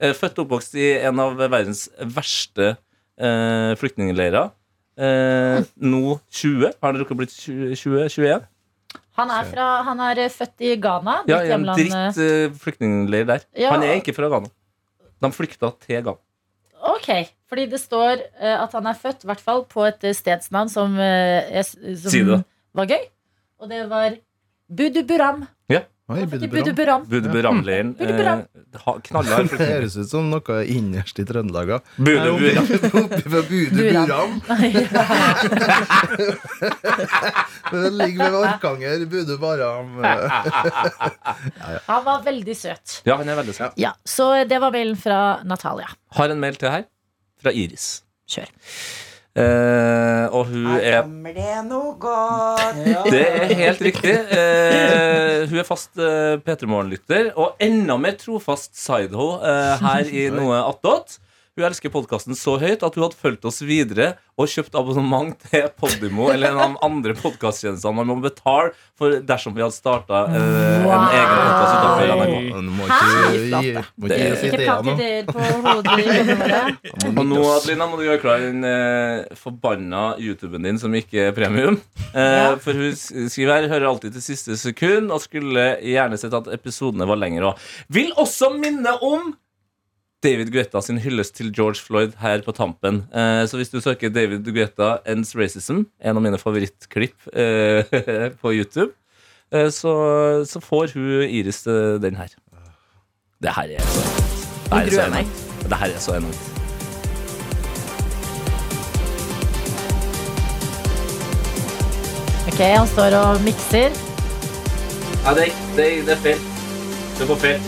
Eh, Født og oppvokst i en av verdens verste eh, flyktningleirer. Eh, nå 20. Har han rukket å bli 20-21?
han, er fra, han er eh, født i Ghana. ditt
Ja, i en
hjemland, eh,
dritt eh, flyktningleir der.
Ja.
Han er ikke fra Ghana. De flykta til Ghana.
Ok, fordi det står eh, at han er født i hvert fall på et eh, stedsnavn som, eh, jeg s- som
Si det.
var gøy. Og det var Buduburam.
Oi,
Buduburam.
Buduburam.
Buduburam.
Budeburam-leiren.
Budeburam.
eh, Knallhard
Det
flyktning.
høres ut som noe innerst i Trøndelag. ja.
Budeburam.
Oppe ved Buduburam. Det ligger ved Orkanger. Budubaram.
Han var veldig søt.
Ja, han er veldig søt.
Ja, Så det var mailen fra Natalia.
Har en mail til her, fra Iris.
Kjør.
Eh, og hun
Her
er
kommer det noe godt.
Det er helt riktig. Eh, hun er fast eh, P3 Morgen-lytter, og enda mer trofast Sideho eh, her i Noe attåt. Hun elsker podkasten så høyt at hun hadde fulgt oss videre og kjøpt abonnement til Podimo eller en av de andre podkasttjenestene man må betale for dersom vi hadde starta en egen podkast utenfor NRK.
Nå må ikke gi må ikke gi oss
Ikke
ideer
plagg
nå.
ideer på hodet i hodene våre.
Og nå, Adelina, må du gjøre klar den eh, forbanna YouTuben din som ikke er premium. Eh, For hun s- skriver her hører alltid til siste sekund og skulle gjerne sett at episodene var lengre òg. Vil også minne om David Guetta sin hyllest til George Floyd her på tampen. Eh, så hvis du søker David Guetta Ends Racism, en av mine favorittklipp eh, på YouTube, eh, så, så får hun Iris eh, den her. Det her er så Det her er så
gruer meg.
enormt. Det her er så enormt.
Ok, Han står og mikser.
Nei, det, er- det, er- det er feil. Du får feil.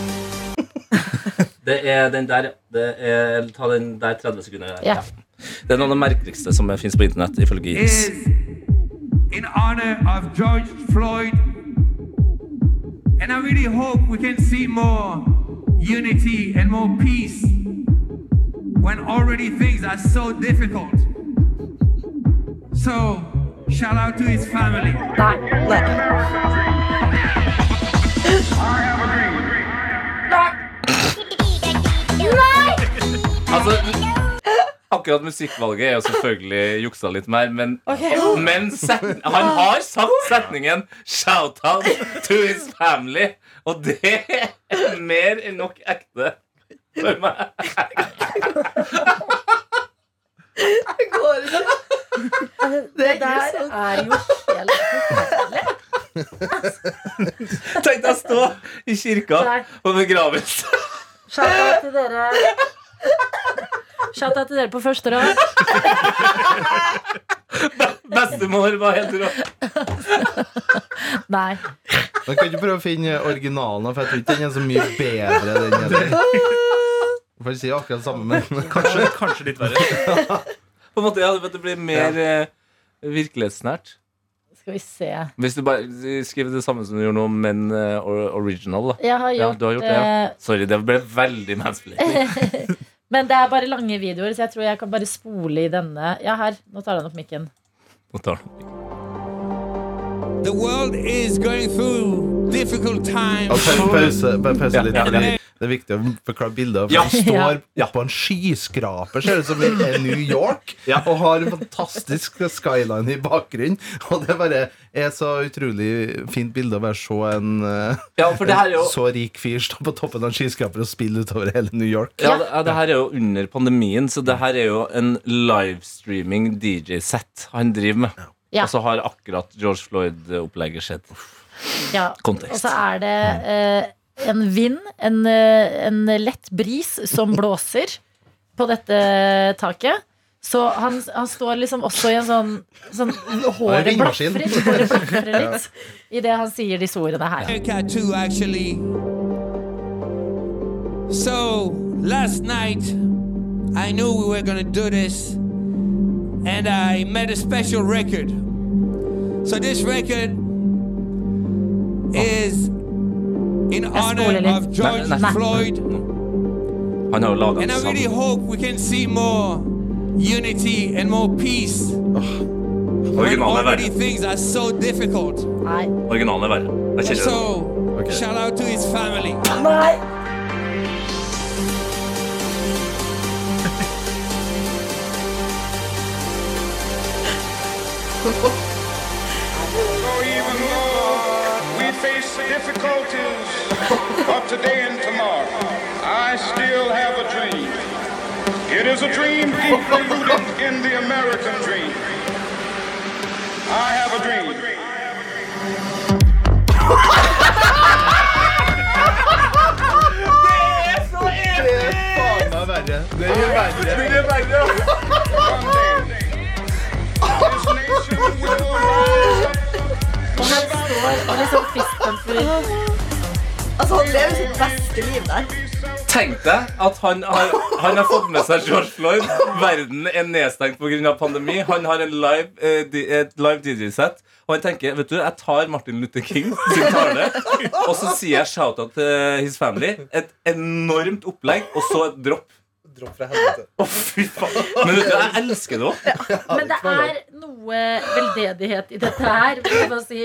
Det er den der, ja. Det er, ta den der 30 sekunder. der.
Ja.
Det er noe av det merkeligste som fins på internett, ifølge Iris.
in honor of George Floyd. And I really hope we can see more unity and more peace when already things are so difficult. So, shout out to his family.
Altså, akkurat musikkvalget er jo selvfølgelig juksa litt mer, men, men set, han har sagt setningen 'shout out to his family', og det er mer enn nok ekte for meg.
Det går ikke. Det er grusomt.
er jo helt
Tenk deg å stå i kirka
Nei.
på begravelse.
Shout-out til dere. Shout-out til dere på første rad.
Bestemor var helt rå.
Nei.
Men kan du prøve å finne originalen? For jeg tror ikke den er så mye bedre. Den heller. Får ikke si akkurat det samme, men
Kanskje, kanskje litt verre.
På en måte, ja, det blir mer eh, virkelighetsnært.
Skal vi se.
Hvis du bare skriver det samme som du gjorde nå, men eh, or- original, da.
Jeg har
Ja,
gjort,
du har gjort det,
eh,
Sorry, det ble veldig mansplaining.
Men det er bare lange videoer, så jeg tror jeg kan bare spole i denne. Ja, her. Nå tar han opp mikken.
Nå tar den.
The world is going through difficult times.
Og pa- pause, pa- pause litt.
Ja, ja.
Fordi det er viktig å forklare bildet. For
Ja.
han står oppå en skyskraper, ser det ut som i New York, og har en fantastisk skyline i bakgrunnen. Og det bare er så utrolig fint bilde å bare se en eh,
Ja, for det her er jo
så rik fyr stå på toppen av en skyskraper og spille utover hele New York.
ja, det, ja, det her er jo under pandemien, så det her er jo en livestreaming DJ-sett han driver med.
Ja.
Og så har akkurat George Floyd-opplegget skjedd.
Ja.
Kontekst.
Og så er det eh, en vind, en, eh, en lett bris som blåser på dette taket. Så han, han står liksom også i en sånn, sånn Håret
vindmaskin.
blafrer håret blafrer litt idet han sier disse ordene her.
America too, actually. So last night, I knew we were gonna do this, and I made a special record. So this record is in honor
spoiler
of
it.
George
Nah, nah.
Floyd,
Han har jo laga en
and I
sang.
really hope we can see more unity and more peace when
Originalen er
already
verre.
things are so difficult.
Nei.
Originalen er verre. Jeg kjenner det.
So shout out to his family.
We face difficulties of today and tomorrow. I still have a dream.
It is a dream deeply rooted in the American dream. I have a dream.
Det er faen meg verre. Det er verre.
Og han står og liksom fistbumper.
Altså, han lever sitt beste liv der.
Tenk deg at han har, han har fått med seg George Floyd. Verden er nedstengt pga. pandemi. Han har en live, eh, di- et live DJ-sett. Og han tenker vet du, jeg tar Martin Luther King sin tale, og så sier jeg shout-out til his family. Et enormt opplegg, og så et dropp.
Dropp fra helvete.
Å, fy faen. Men vet du, jeg elsker det òg.
Men det er noe veldedighet i dette her, må jeg bare si.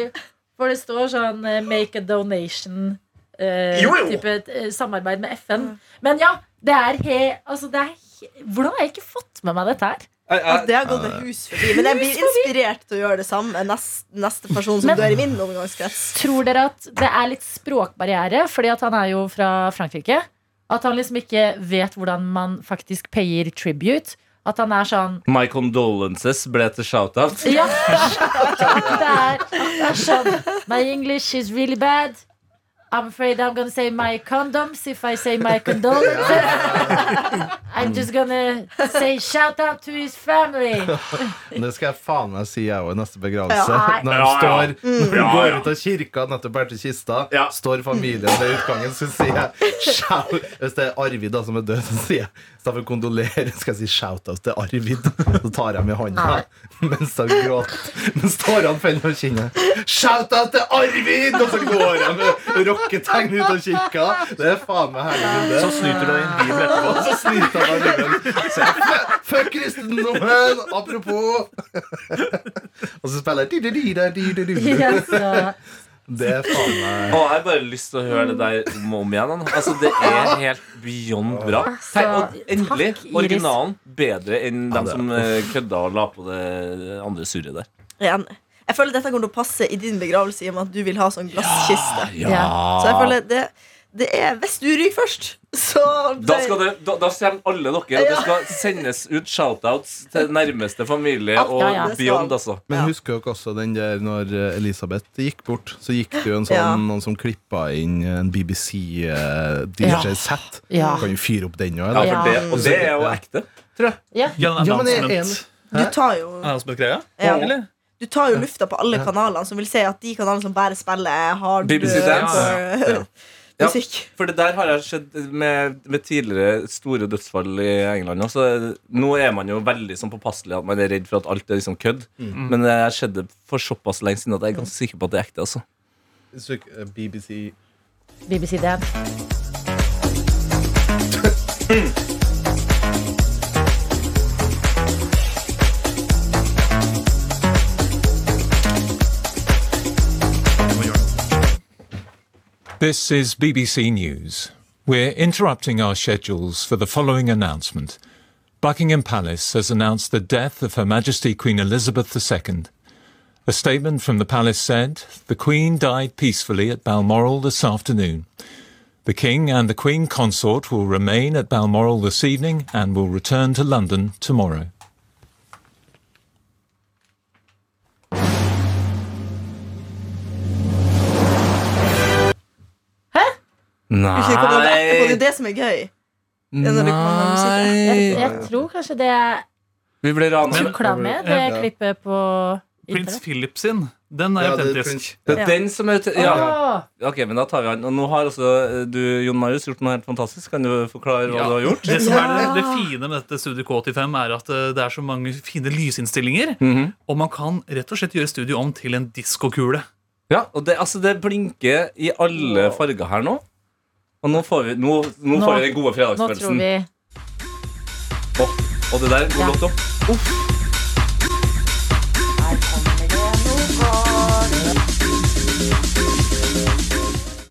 For det står sånn eh, 'make a donation'. eh,
Jo, jo.
Type et, eh, samarbeid med FN. Men ja, det er he... Altså, det er he Hvordan har jeg ikke fått med meg dette her?
Eh,
Altså, det har gått et hus forbi. Men jeg blir inspirert til å gjøre det samme neste, neste person som
Men-
dør i min omgangskrets.
Tror dere at det er litt språkbarriere, fordi at han er jo fra Frankrike? At han liksom ikke vet hvordan man faktisk payer tribute? At han er sånn
My condolences ble til shout-out.
Ja! At det er, at det er sånn My English is really bad. I'm afraid I'm gonna say my condoms if I say my condolences. I'm just gonna say shout out to his family.
Det skal jeg faen meg si jeg òg i neste begravelse.
Ja, nei. Mm.
Når de står Når de
Ja,
går
ja.
ut av kirka, nettopp bærer til kista,
Ja.
står familien ved utgangen, så sier jeg shout. Hvis det er Arvid da som er død, så sier jeg istedenfor kondolerer, skal jeg si shout-out til Arvid. Så tar jeg med hånda mens han gråter. Mens tårene faller på kinnet. Shout-out til Arvid! Og så går jeg med rocketegn ut av kirka. Det er faen meg herlig bilde.
Så snyter du deg en bibel etterpå.
Og så snyter han av Bibelen. Så jeg, "Fuck- Fuck kristendommen! Apropos. Og så spiller jeg di-di-di-di-di-di-di.
Ja, så-
Det er faen meg
Å, jeg har bare lyst til å høre det der om og om igjen. han. Altså, Det er helt beyond bra.
Altså,
Tenk, og endelig
takk, Iris.
originalen bedre enn
Ja,
dem
det er-
som eh, kødda og la på det andre surret der.
Igjen. Jeg føler dette kommer til å passe i din begravelse i og med at du vil ha sånn glasskiste.
Ja.
Så jeg føler det, det er Hvis du ryker først, så
Da, skal det, da, da kommer alle dere, og det skal sendes ut shoutouts til nærmeste familie
Ja,
og
ja.
beyond, altså.
Men husker dere også den der når eh, Elisabeth gikk bort, så gikk det jo en sånn,
Ja.
noen som klippa inn en eh, BBC-DJ-sett.
Ja.
Kan jo fyre opp den
Ja,
òg,
for
Ja.
det, og det er jo ekte.
Ja,
Ja, men jeg er
announcement.
Du tar jo
Announcement-greia?
Ja.
Eller?
Du tar jo lufta på alle kanalene, som vil si at de kanalene som bare spiller hard
BBC Dance.
for-
Ja.
musikk.
For det der har jeg sett med, med tidligere store dødsfall i England. Også. Nå er man jo veldig sånn påpasselig at man er redd for at alt er liksom kødd. Men det har skjedd for såpass lenge siden at jeg er ganske sikker på at det er ekte. altså
Søk eh, BBC
BBC Dance.
This is BBC News. We're interrupting our schedules for the following announcement. Buckingham Palace has announced the death of Her Majesty Queen Elizabeth II. A statement from the palace said the Queen died peacefully at Balmoral this afternoon. The King and the Queen consort will remain at Balmoral this evening and will return to London tomorrow.
Du kan komme etterpå, Det er jo det som er gøy. Det er når det kommer musikk.
Jeg, jeg tror kanskje det er
Vi ble ranet.
tukla med, det klippet på
Prins
internett.
Philip sin. Den er
Ja, det er
autentisk.
Det er
Ja.
den som er ute ja.
Åh,
Ok, men da tar vi han Og nå har altså eh, du, Jon Marius, gjort noe helt fantastisk Kan du forklare hva
Ja.
du har gjort?
Det som er det, det fine med dette Studio K85, er at eh, det er så mange fine lysinnstillinger.
Mhm.
Og man kan rett og slett gjøre studio om til en diskokule.
Ja, og det, altså, det blinker i alle farger her nå Og nå får vi, nå, nå
Nå-
får vi den
Nå
gode
tror
fredagsfølelsen
vi
Å, Og det der går
Ja.
godt opp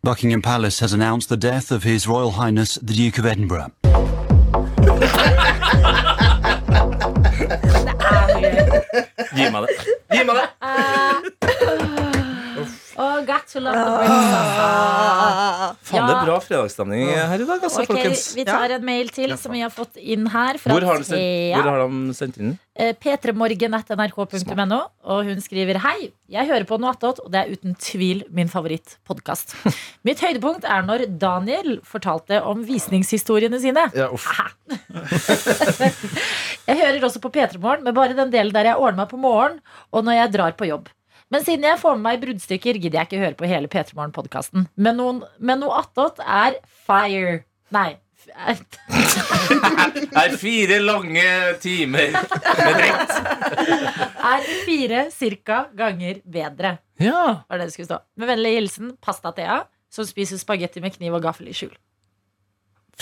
Buckingham Palace has announced the death of His Royal Highness the Duke of Edinburgh.
Gi meg det Gi meg det
Oh, got to love the princess.
Faen, det er bra folkeavstemning her i dag, altså,
Ok,
folkens.
Vi tar en mail til som vi har fått inn her. Fra
Hvor har, de sendt,
Thea.
hvor har de sendt inn den?
Eh, p3morgen.nrk.no, og hun skriver Hei, jeg hører på noe attåt, og det er uten tvil min favorittpodkast. Mitt høydepunkt er når Daniel fortalte om visningshistoriene sine. Aha. jeg hører også på P3morgen, men bare den delen der jeg ordner meg på morgenen, og når jeg drar på jobb. Men siden jeg får med meg bruddstykker, gidder jeg ikke høre på hele P3morgen-podkasten. Men, noen- men noe attåt er fire. Nei. f- eh,
er fire lange timer med dritt.
er fire cirka ganger bedre.
Ja.
Var det det skulle stå. Med vennlig hilsen Pasta-Thea, som spiser spagetti med kniv og gaffel i skjul.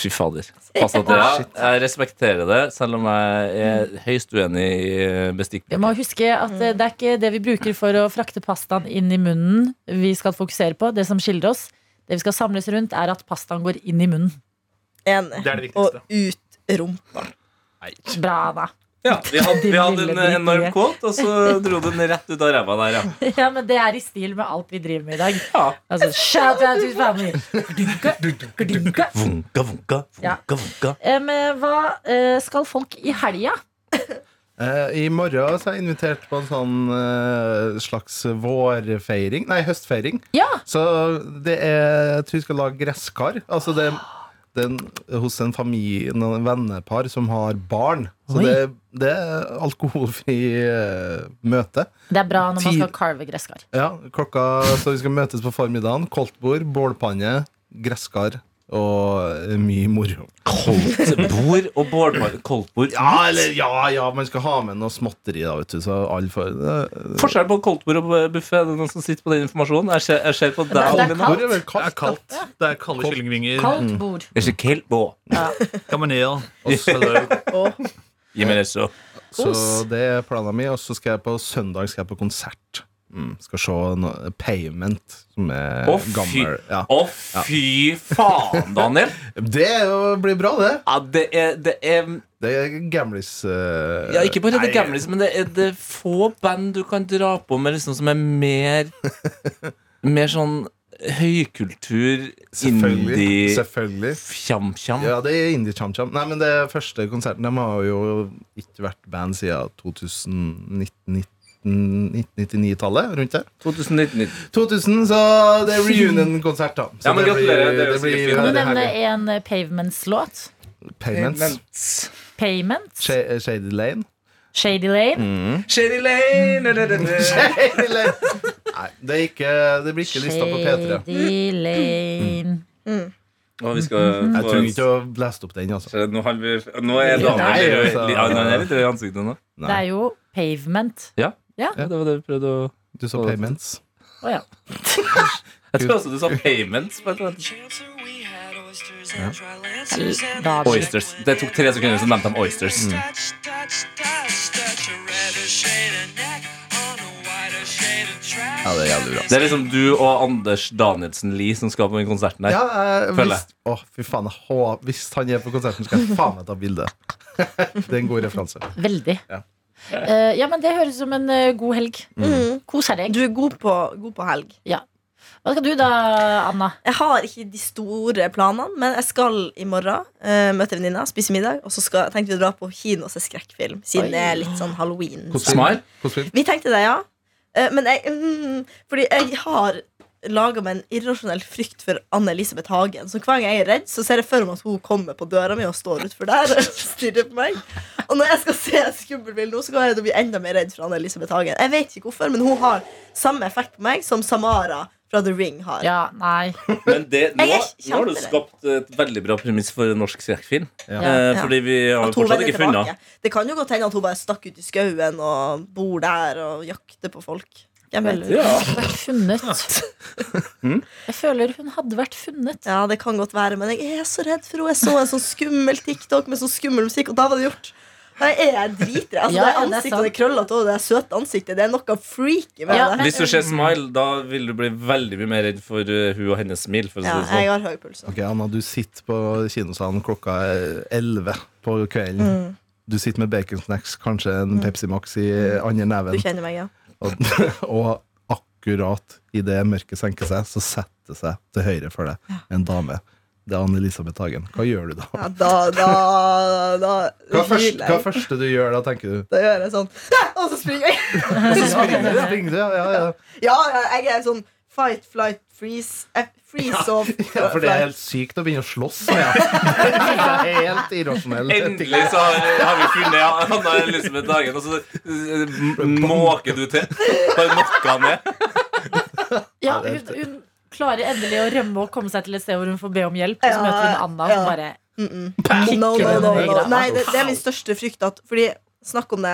Fy fader. Pass at dere Jeg respekterer det, selv om jeg er høyst uenig i eh, bestikk.
Vi må huske at eh, det er ikke det vi bruker for å frakte pastaen inn i munnen vi skal fokusere på. Det som skiller oss, det vi skal samles rundt, er at pastaen går inn i munnen.
Enig.
Det er det
viktigste. Og ut rumpa.
Bra, da.
Ja, vi hadde, vi hadde en
lille
enorm
drittunge.
quote, og så dro den rett ut av ræva der, ja.
Ja, men det er i stil med alt vi driver med i dag. Altså, shout out to family!
Vunka, vunka,
Ja.
vunka.
Em, eh, hva eh, skal folk i helga?
Eh, I morgen så er jeg invitert på en sånn eh, slags vårfeiring Nei, høstfeiring. Så det er Jeg tror jeg skal lage gresskar. Altså det, det er en- hos en familie, noen vennepar som har barn. Så
Oi.
det, det er alkoholfri eh, møte.
Det er bra når man
Tid-
skal karve gresskar.
Ja, klokka Så vi skal møtes på formiddagen. Koldtbord, bålpanne, gresskar og mye moro.
Koldtbord og bålpanne? Koldtbord?
Ja, eller, ja, ja, man skal ha med noe småtteri, da, vet du. Så alle får
Forskjellen på koldtbord og buffé, er det noen som sitter på den informasjonen? Jeg ser, jeg ser på deg, Alvin.
Hvor er det kaldt? Det er kaldt. Det er kalde kyllingvinger.
Mm.
Kaldt bord.
Det er ikke kaldt bord.
Kamanel. Og så-
Gi meg det så.
Så det er planen min. Og så skal jeg på søndag skal jeg på konsert. Mm, skal se no, Payment, som er
Å, fy,
gammel. Ja.
å, fy faen, Daniel!
Det er jo- blir bra, det.
Ja, det er, det er
Det er gamlis eh,
ja, Ikke bare det
nei,
gamlis, men det er, det er få band du kan dra på med liksom, som er mer Mer sånn høykultur,
Selvfølgelig.
indie
selvfølgelig.
Fjam-fjam.
Ja, det er indie cham cham. Nei, men det er første konserten. De har jo ikke vært band siden 2099-tallet, rundt der.
2019.
2000, så det er reunion-konsert, da. Så
Ja, men
det blir-
gratulerer, det er jo
det blir
sikkert fint.
Kan du
veldig
nevne
herlig.
en eh, Pavements-låt?
Payments.
Payment?
Sha- Shady Lane.
Shady Lane?
Mm.
Shady Lane
Shady Lane. Nei, det, er ikke, det blir ikke lista på P3. Mm.
Shady Lane.
Og vi skal
Jeg
få-
trenger ikke å blæste opp den, altså.
Så Nå, har vi, nå er
Nei,
Daniel litt
altså.
rød- ja, han er litt rød i ansiktet nå.
Det er jo Pavement.
Ja.
Ja.
det var det vi prøvde å
Du sa Payments.
Å ja.
Jeg tror også du sa payments. på et eller annet.
Da-
Oysters. Det tok tre sekunder, så nevnte de oysters.
Ja, det er jævlig bra.
Det er liksom du og Anders Danielsen Lie som skal på den konserten her.
Ja, jeg,
Føler
hvis, å, fy faen, jeg, hå- hvis han er på konserten, skal jeg faen meg ta bilde. Det er en god referanse.
Veldig.
Ja. Mm.
Eh, ja, men det høres ut som en eh, god helg.
Mm.
Koser deg.
Du er god på, god på helg.
Ja. Hva skal du da, Anna?
Jeg har ikke de store planene, men jeg skal i morgen eh, møte venninna, spise middag, og så skal, tenkte vi å dra på kino og se skrekkfilm, siden
Oi.
det er litt sånn halloween.
Smile?
Vi tenkte det, ja. Eh, Men jeg, mm, fordi jeg har laga meg en irrasjonell frykt for Anne-Elisabeth Hagen. Så hver gang jeg er redd, så ser jeg for meg at hun kommer på døra mi og står utfor der og stirrer på meg. Og når jeg skal se en skummel film nå, så kommer jeg til å bli enda mer redd for Anne-Elisabeth Hagen. Jeg vet ikke hvorfor, men hun har samme effekt på meg som Samara fra The Ring har.
Ja, nei.
Men det, nå,
Jeg er
nå har du
kjemperedd.
skapt et veldig bra premiss for en norsk skrekkfilm. Eh,
Ja.
fordi vi har jo
At hun
fortsatt
vender
ikke funnet
tilbake. Det kan jo godt hende at hun bare stakk ut i skauen og bor der og jakter på folk. Jeg vet.
Vel, hun har vært funnet.
Mm?
Jeg føler hun hadde vært funnet.
Ja, det kan godt være, men jeg er så redd for henne. Jeg så en sånn skummel TikTok med sånn skummel musikk, og da var det gjort. Nei, jeg er dritredd.
Ja,
Altså, det
ja, det er
ansiktet
sant.
og det krøllete og det søte ansiktet, det er noe freaky ved
Ja,
det.
Hvis du ser Smile, da vil du bli veldig mye mer redd for uh, hun og hennes smil. For å si
Ja,
det sånn.
jeg har høy puls.
Ok, Anna, du sitter på kinosalen klokka er 11 på kvelden. Du sitter med baconsnacks, kanskje en Pepsi Max i andre
Du
neven.
kjenner meg, ja.
Og, og akkurat idet mørket senker seg, så setter det seg til høyre for deg en dame. Det er Anne-Elisabeth Hagen. Hva gjør du da?
Ja, da, da, da
Hva er først-
hyler
hva er
jeg.
første du gjør da, tenker du?
Da gjør jeg sånn Og så springer jeg.
Springer du? Springer du? Ja, ja, ja.
ja, jeg er sånn fight, flight, freeze. eh, Freeze og
ja, for det er helt sykt å begynne å slåss med. Ja. Det er helt irrasjonell.
Endelig så har, har vi funnet ja, Hanna Elisabeth Hagen, og så eh, måker du til. Bare måker han ned.
Ja, hun, hun klarer endelig å rømme og komme seg til et sted hvor hun får be om hjelp. Og så møter hun Anna, og
Ja.
bare
Mm-mm.
kicker
No, no,
henne
no,
i
no.
grava.
Nei, det, det er min største frykt. At, fordi Snakk om det.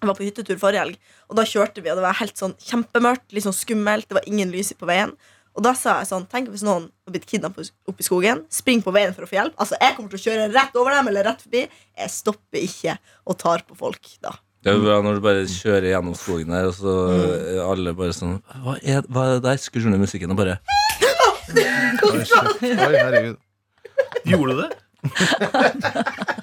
Jeg var på hyttetur forrige helg, og da kjørte vi, og det var helt sånn kjempemørkt. Litt sånn skummelt, Det var ingen lys på veien. Og da sa jeg sånn Tenk hvis noen har blitt kidnappa oppe i skogen. Spring på veien for å få hjelp. Altså, Jeg kommer til å kjøre rett over dem eller rett forbi. Jeg stopper ikke og tar på folk da.
Det er bra når du bare kjører gjennom skogen der, og så
Mm.
eh, alle bare sånn Hva er, hva er det der? Skrur ned musikken og bare
Oi, shit. Oi, herregud.
Gjorde du det?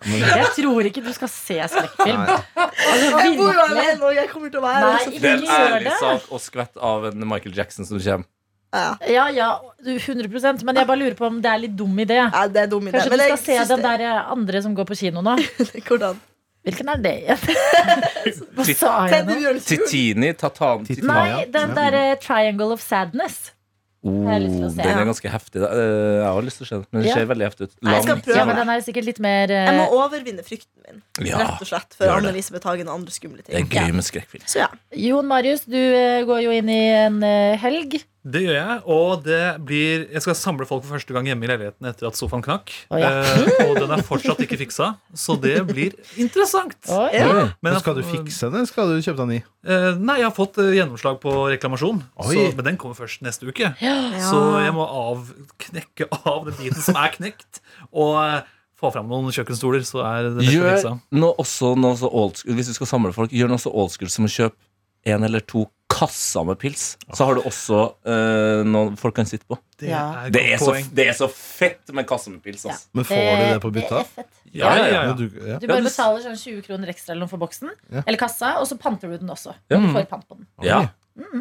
Jeg tror ikke du skal se skrekkfilm.
Nei.
Altså,
Jeg bor jo
virkelig.
alene, og jeg kommer til å være
Nei,
så
Det er en
Ikke gjør
ærlig
det.
sak å skvette av en Michael Jackson som kommer.
Ja, ja, du, 100 Men jeg bare lurer på om det er litt dum idé.
Ja, det er dum idé,
Kanskje
men
du
jeg
skal se
synes
den
det-
der eh, andre som går på kino nå?
Hvordan?
Hvilken er det igjen? Hva sa jeg nå?
Titini? Tatan...
Nei, den der eh, Triangle of Sadness.
Oh,
har jeg lyst til å se.
Den er ganske heftig. da. Eh, Jeg har lyst til å se den, men den
Ja.
ser veldig heftig ut.
Nei, jeg skal
Lang.
prøve.
Ja, men den er sikkert litt mer eh,
Jeg må overvinne frykten min,
Ja,
rett og slett,
gjør
for
det.
Anne-Elisabeth Hagen og andre skumle ting.
Det er gøy med skrekkfilm.
Så ja.
Jon Marius, du eh, går jo inn i en eh, helg.
Det gjør jeg, og det blir Jeg skal samle folk for første gang hjemme i leiligheten etter at sofaen knakk.
Å, ja.
eh, og den er fortsatt ikke fiksa, så det blir interessant.
Oi.
Men
Men skal du fikse den, eller skal du kjøpe deg ny?
Eh, nei, jeg har fått eh, gjennomslag på reklamasjon,
Oi.
så, men den kommer først neste uke.
Ja.
Så jeg må av, knekke av den biten som er knekt, og eh, få fram noen kjøkkenstoler. Så er det neste
Gjør
fiksa.
noe også noe så old school Hvis du skal samle folk, gjør noe så old school som å kjøpe en eller to kasser med pils. Så har du også eh, noe folk kan sitte på.
Det Ja. er et
det,
godt
er så,
poeng.
det er så fett med kasse med pils. Altså.
Men får du det på bytta?
er fett.
Ja, ja, ja.
Men Du, ja.
Du bare betaler sånn 20 kroner ekstra eller noe for boksen,
Ja.
eller kassa, og så panter du den også.
Ja.
Du får pant på den.
Ja.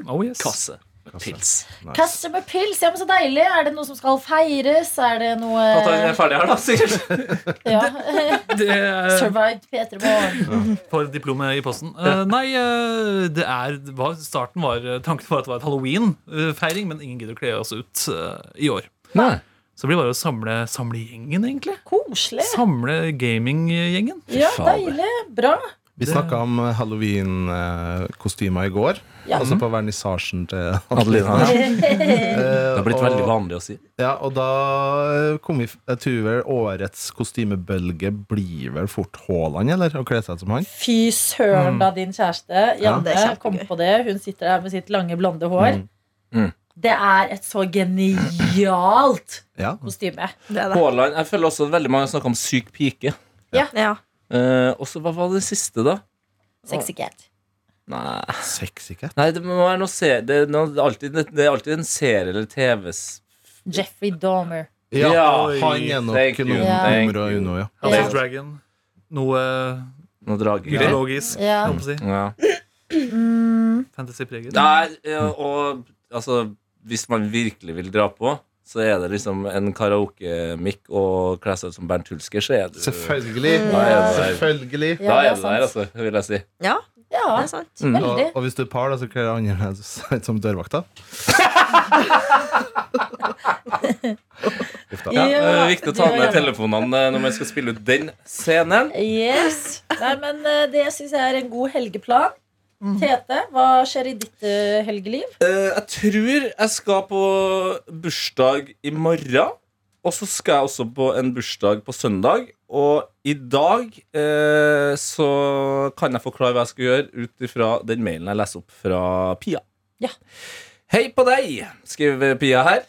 Oh, yes.
Kasse med pils.
Kasse med pils, ja, men så deilig. Er det noe som skal feires? Er det noe
At han er ferdig her, da, sikkert.
ja.
Det er
Survived P3 Morgen.
for diplomet i posten. Eh, nei, eh, det er det var, starten var, eh, Tanken var at det var et halloween-feiring, men ingen gidder å kle oss ut eh, i år. Så det blir bare å samle, samle gjengen, egentlig.
Koselig.
Sånn.
Samle gaminggjengen.
Ja, deilig. Bra.
Vi snakka om eh, halloween-kostymer i går.
Ja.
Altså på vernissasjen til
Adelina.
Eh,
Det har blitt
og-
veldig vanlig å si.
Ja, og da eh, kom vi Jeg tror vel årets kostymebølge blir vel fort Haaland, eller? Å kle seg som han.
Fy
Mm.
søren, da, din kjæreste. Janne
det er kjempegøy.
kom på det. Hun sitter der med sitt lange, blonde hår.
Mm.
Det er et så genialt
Ja.
kostyme.
Det er det.
Haaland Jeg føler også veldig mange snakker om syk pike.
Ja.
Eh, og så hva var det siste, da?
Sexy cat.
Nei
Sexy cat.
Nei, det må være noe se det, er noe, det, er alltid, det er alltid en serie eller TVs
Jeffrey Dahmer.
Ja,
Ja,
han er nok
thank you,
noen
thank
nummer og
you.
uno, ja.
House
Ja.
of Dragon. Noe
Noe drager.
ideologisk,
Ja.
kan man si.
Ja.
Fantasy-preget.
Der, ja, og altså Hvis man virkelig vil dra på, så er det liksom en karaokemikk og kle seg ut som Bernt Hulsker, så er du
Selvfølgelig.
Da er du der.
Selvfølgelig.
Ja,
Da
det
er
er
du der,
sant.
altså, vil jeg si.
ja,
Ja,
det er sant.
Mm.
Og,
veldig.
og hvis du er par, da, så kler andre seg ut som dørvakta.
Ja,
Det er viktig å ta
det
med
gjør jeg.
telefonene eh, når man skal spille ut den scenen.
Yes. Nei, men eh, det syns jeg er en god helgeplan.
Mm.
Tete, hva skjer i ditt eh, helgeliv?
Eh, jeg tror jeg skal på bursdag i morgen. Og så skal jeg også på en bursdag på søndag. Og i dag eh, så kan jeg forklare hva jeg skal gjøre ut ifra den mailen jeg leser opp fra Pia.
Ja.
Hei på deg, skriver Pia her.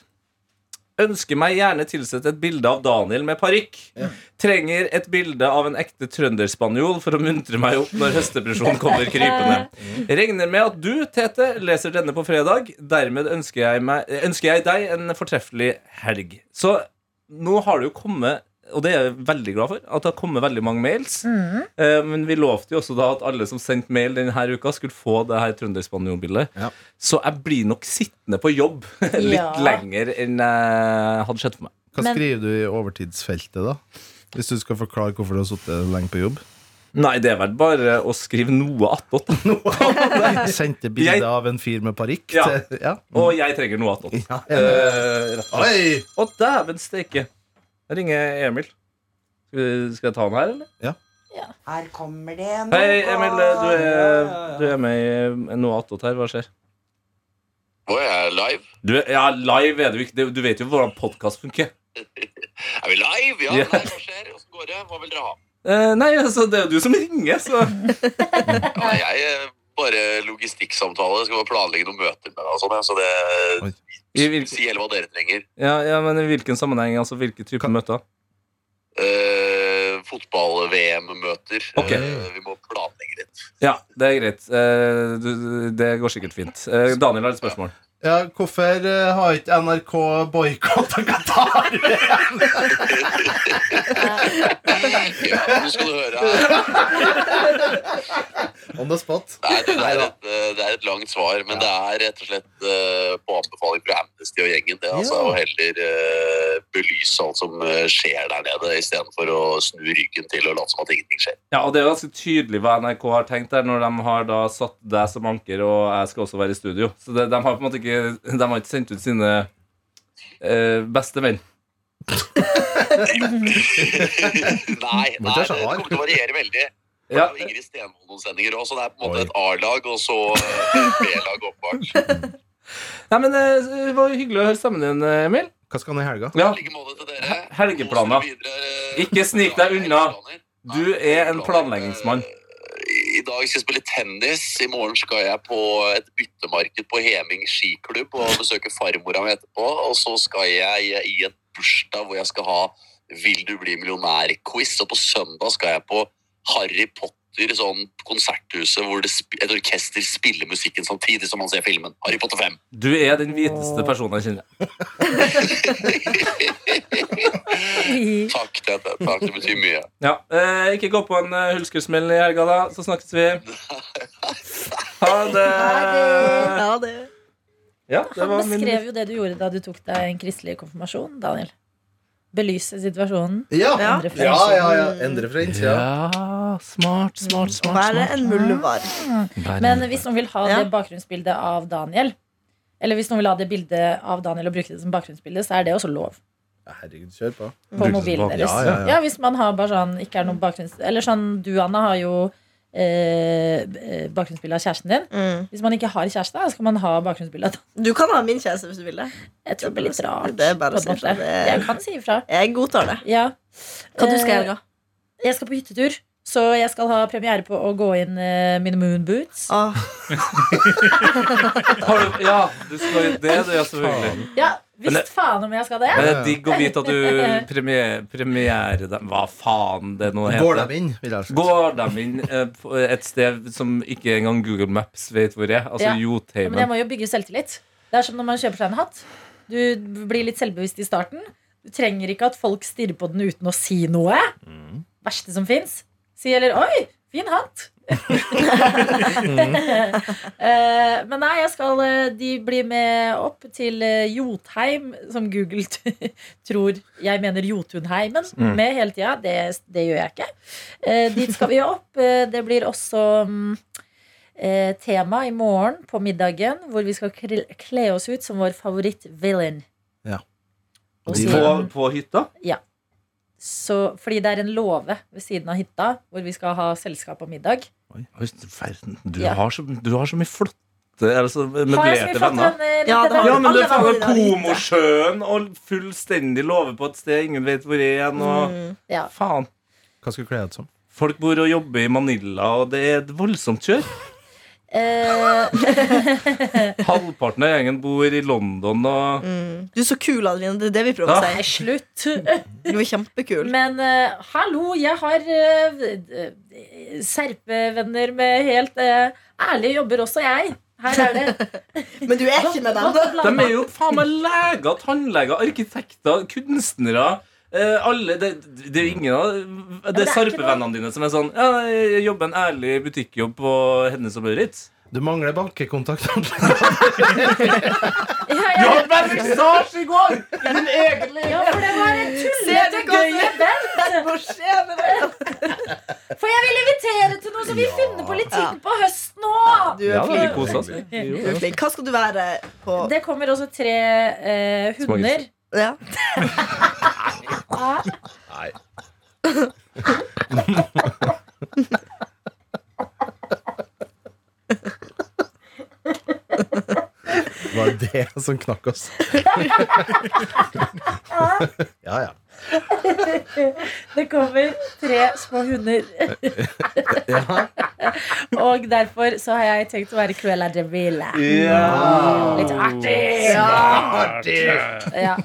Ønsker meg gjerne tilsett et bilde av Daniel med parykk. Trenger et bilde av en ekte trønderspanjol for å muntre meg opp når høstdepresjonen kommer krypende. Regner med at du, Tete, leser denne på fredag. Dermed ønsker jeg, meg, ønsker jeg deg en fortreffelig helg. Så nå har det jo kommet og det er jeg veldig glad for, at det har kommet veldig mange mails. Eh, men vi lovte jo også da at alle som sendte mail denne uka, skulle få det her trønderspanjolbildet.
Ja.
Så jeg blir nok sittende på jobb litt
Ja.
lenger enn jeg hadde sett for meg.
Hva
Men-
skriver du i overtidsfeltet, da? Hvis du skal forklare hvorfor du har sittet lenge på jobb?
Nei, det er vel bare å skrive noe attåt.
Sendte bilde av en fyr med parykk?
Ja.
til- ja.
Og jeg trenger noe attåt.
Ja.
Eh, rett og
Oi!
slett. Å, dæven steike. Jeg ringer Emil. Skal, vi, skal jeg ta han her, eller?
Her kommer det noe
Hei, Emil. Eh, Du er, du er med i eh, noe attåt her. Hva skjer?
Å, jeg er live?
Du, er- ja, live er du ikke. Du- Du vet jo hvordan podkast funker.
Er vi live? Ja,
Ja.
Nei, hva skjer? Åssen går det? Hva vil dere ha?
Eh, nei, altså, det er jo du som ringer, så
Ja, jeg eh, bare logistikksamtale. Skal bare planlegge noen møter med deg og sånn, jeg, så det Si heller hva dere trenger.
ja, ja, men i hvilken sammenheng? Altså, hvilke type møter?
Eh, Fotball-VM-møter.
Ok.
Eh, vi må planlegge litt.
Ja, det er greit. Eh, du, det går sikkert fint. Eh, Daniel har et spørsmål.
Ja, hvorfor eh, har ikke NRK boikotta Qatar?
Ja, nå skal du høre her.
On the spot.
Nei, det, det, er et, eh, det er et langt svar, men det er rett og slett eh, på anbefaling fra Amnesty og gjengen. Det, altså, Og heller eh, belyse alt som eh, skjer der nede, istedenfor å snu ryggen til og late som at ingenting skjer.
Ja, og Det er jo ganske tydelig hva NRK har tenkt der når de har da satt deg som anker, og jeg skal også være i studio. Så det, de har på en måte ikke De har ikke sendt ut sine eh, beste menn.
nei, nei, det kommer til å variere veldig. For
Ja.
det er jo Ingrid Stenvold noen sendinger også, så det er på en måte et A-lag og så eh, et B-lag, åpenbart.
Nei, men eh, Det var hyggelig å høre stemmen din, Emil.
Hva skal han i helga?
Ja. He- Helgeplaner.
eh,
Ikke snik deg unna. Du er en planleggingsmann.
eh, I dag skal jeg spille tennis. I morgen skal jeg på et byttemarked på Heming skiklubb og besøke farmora mi etterpå. Og så skal jeg i en bursdag hvor jeg skal ha Vil du bli millionær-quiz. Og på søndag skal jeg på Harry Potter, sånn konserthuset hvor det sp et orkester spiller musikken samtidig som man ser filmen. Harry Potter 5.
Du er den hviteste personen jeg kjenner.
Takk, Tete. Takk, det betyr mye.
Ja, eh, Ikke gå på en eh, hulskesmell i helga, da, så snakkes vi. Ha det.
Ja, det
Ja, det
Han
var min
beskrev jo det du gjorde da du tok deg en kristelig konfirmasjon, Daniel. Belyse situasjonen.
Ja.
Andre
Ja, ja,
fremsyn.
ja. Endre French, ja.
smart, smart,
smart.
Være en muldvarp.
Mm. Men hvis noen vil ha det bakgrunnsbildet av Daniel, eller hvis noen vil ha det bildet av Daniel og bruke det som bakgrunnsbilde, så er det også lov.
Herregud, kjør på.
På mobilen deres.
Ja,
Ja,
ja, ja.
hvis man har bare sånn ikke er noen bakgrunns... Eller sånn du, Anna, har jo eh, b- eh, bakgrunnsbilde av kjæresten din. Hvis man ikke har kjæreste, så skal man ha bakgrunnsbilde av
Mm. Du kan ha min kjæreste hvis du vil det.
Jeg tror det blir litt rart.
Det er
på
bare å
en
si ifra.
måte.
Det-
Jeg kan si ifra.
Jeg godtar det.
Ja.
Hva du skal i helga?
Eh, Jeg skal på hyttetur. Så jeg skal ha premiere på å gå inn eh, mine moon boots.
Ah.
Har du, ja, du skal jo det, du, ja, selvfølgelig.
Ja,
Men det-
visst faen om jeg skal det.
Men det er digg å vite at du premier, premiere dem Hva faen det nå heter.
Går dem inn, vil jeg si.
Går dem inn eh, på et sted som ikke engang Google Maps vet hvor er? Altså
Ja. Ja, Men jeg
Jotheimen.
må jo bygge selvtillit. Det er som når man kjøper seg en hatt. Du blir litt selvbevisst i starten. Du trenger ikke at folk stirrer på den uten å si noe. Verste som fins. Si heller 'oi, fin hatt'. Eh, Men nei, jeg skal eh, De blir med opp til eh, Jotheim, som Google t- tror jeg mener Jotunheimen
Mm.
med hele tida. Det, det gjør jeg ikke. Eh, Dit skal vi opp. Eh, Det blir også mm, eh, tema i morgen på middagen, hvor vi skal kre- kle oss ut som vår favoritt-villain. Og så-
På, på hytta?
Ja. Så, fordi det er en låve ved siden av hytta, hvor vi skal ha selskap og middag.
Oi, verden, du,
Ja.
har så, du har så mye flotte altså,
mye
møblerte
flotte
venner.
eh,
venner.
Ja,
Det har vi.
men det
Alle
er faen meg
venner i hytta.
Komosjøen og fullstendig låve på et sted ingen vet hvor er igjen. Og,
Ja.
Faen.
Hva skal du kle deg ut som?
Folk bor og jobber i Manila, og det er et voldsomt kjør.
Eh,
Halvparten av gjengen bor i London og
Du er så kul, Adeline. Det er det vi prøver å
Ja.
si.
Slutt.
Du er kjempekul.
Men eh, hallo, jeg har eh, eh, serpevenner med helt eh, ærlige jobber også, jeg. Her er det.
Men du er ikke med dem.
De er jo faen meg leger, tannleger, arkitekter, kunstnere. Eh, alle, det, det er jo ingen av Det
det
er
er ikke
sarpevennene dine som er sånn Ja, jeg jobber en ærlig butikkjobb på Hennes og Maurits.
Du mangler bankekontakt.
Du hadde vært vernissasje i går! I din egen
Ja, for det var en tullete gøy event! For jeg vil invitere til noe som vi finner på litt ting på høsten òg!
Du er Ja, flink. vi koser
oss, vi. Vi gjorde
Du er flink. Hva skal du være på
Det kommer også tre eh, hunder.
Smaker. Ja.
Ah.
Nei. Var det det som knakk oss? ja, ja.
Det kommer tre små hunder. Og derfor så har jeg tenkt å være Cruella de Ville.
Ja.
Litt artig!
Ja, artig.
Ja.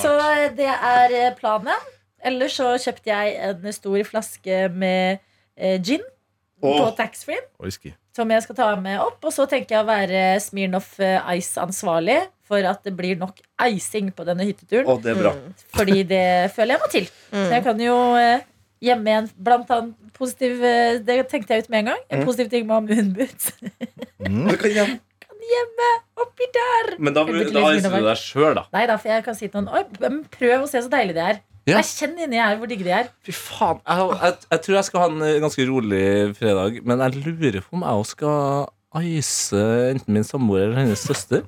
Så det er eh, planen. Ellers så kjøpte jeg en stor flaske med eh, gin på
Åh.
taxfree.
Whisky.
Som jeg skal ta med opp. Og så tenker jeg å være Smirnoff eh, Ice-ansvarlig for at det blir nok icing på denne hytteturen.
Å, det er bra.
Mm. Fordi det føler jeg må til.
Mm.
Så jeg kan jo eh, gjemme igjen blant annet positiv eh, Det tenkte jeg ut med en gang. En
Mm.
positiv ting med å ha moonboots.
Mm.
Du kan hjem.
Gjemme oppi der!
Men da,
Eller
da
lys
iser du
innover.
deg sjøl, da.
Nei da, for jeg kan si til noen Oi, men prøv å se så deilig det er.
Ja.
Jeg kjenner inni her hvor digge de er.
Fy faen. Jeg, jeg, jeg tror jeg skal ha en eh, ganske rolig fredag, men jeg lurer på om jeg også skal ice enten min samboer eller hennes søster.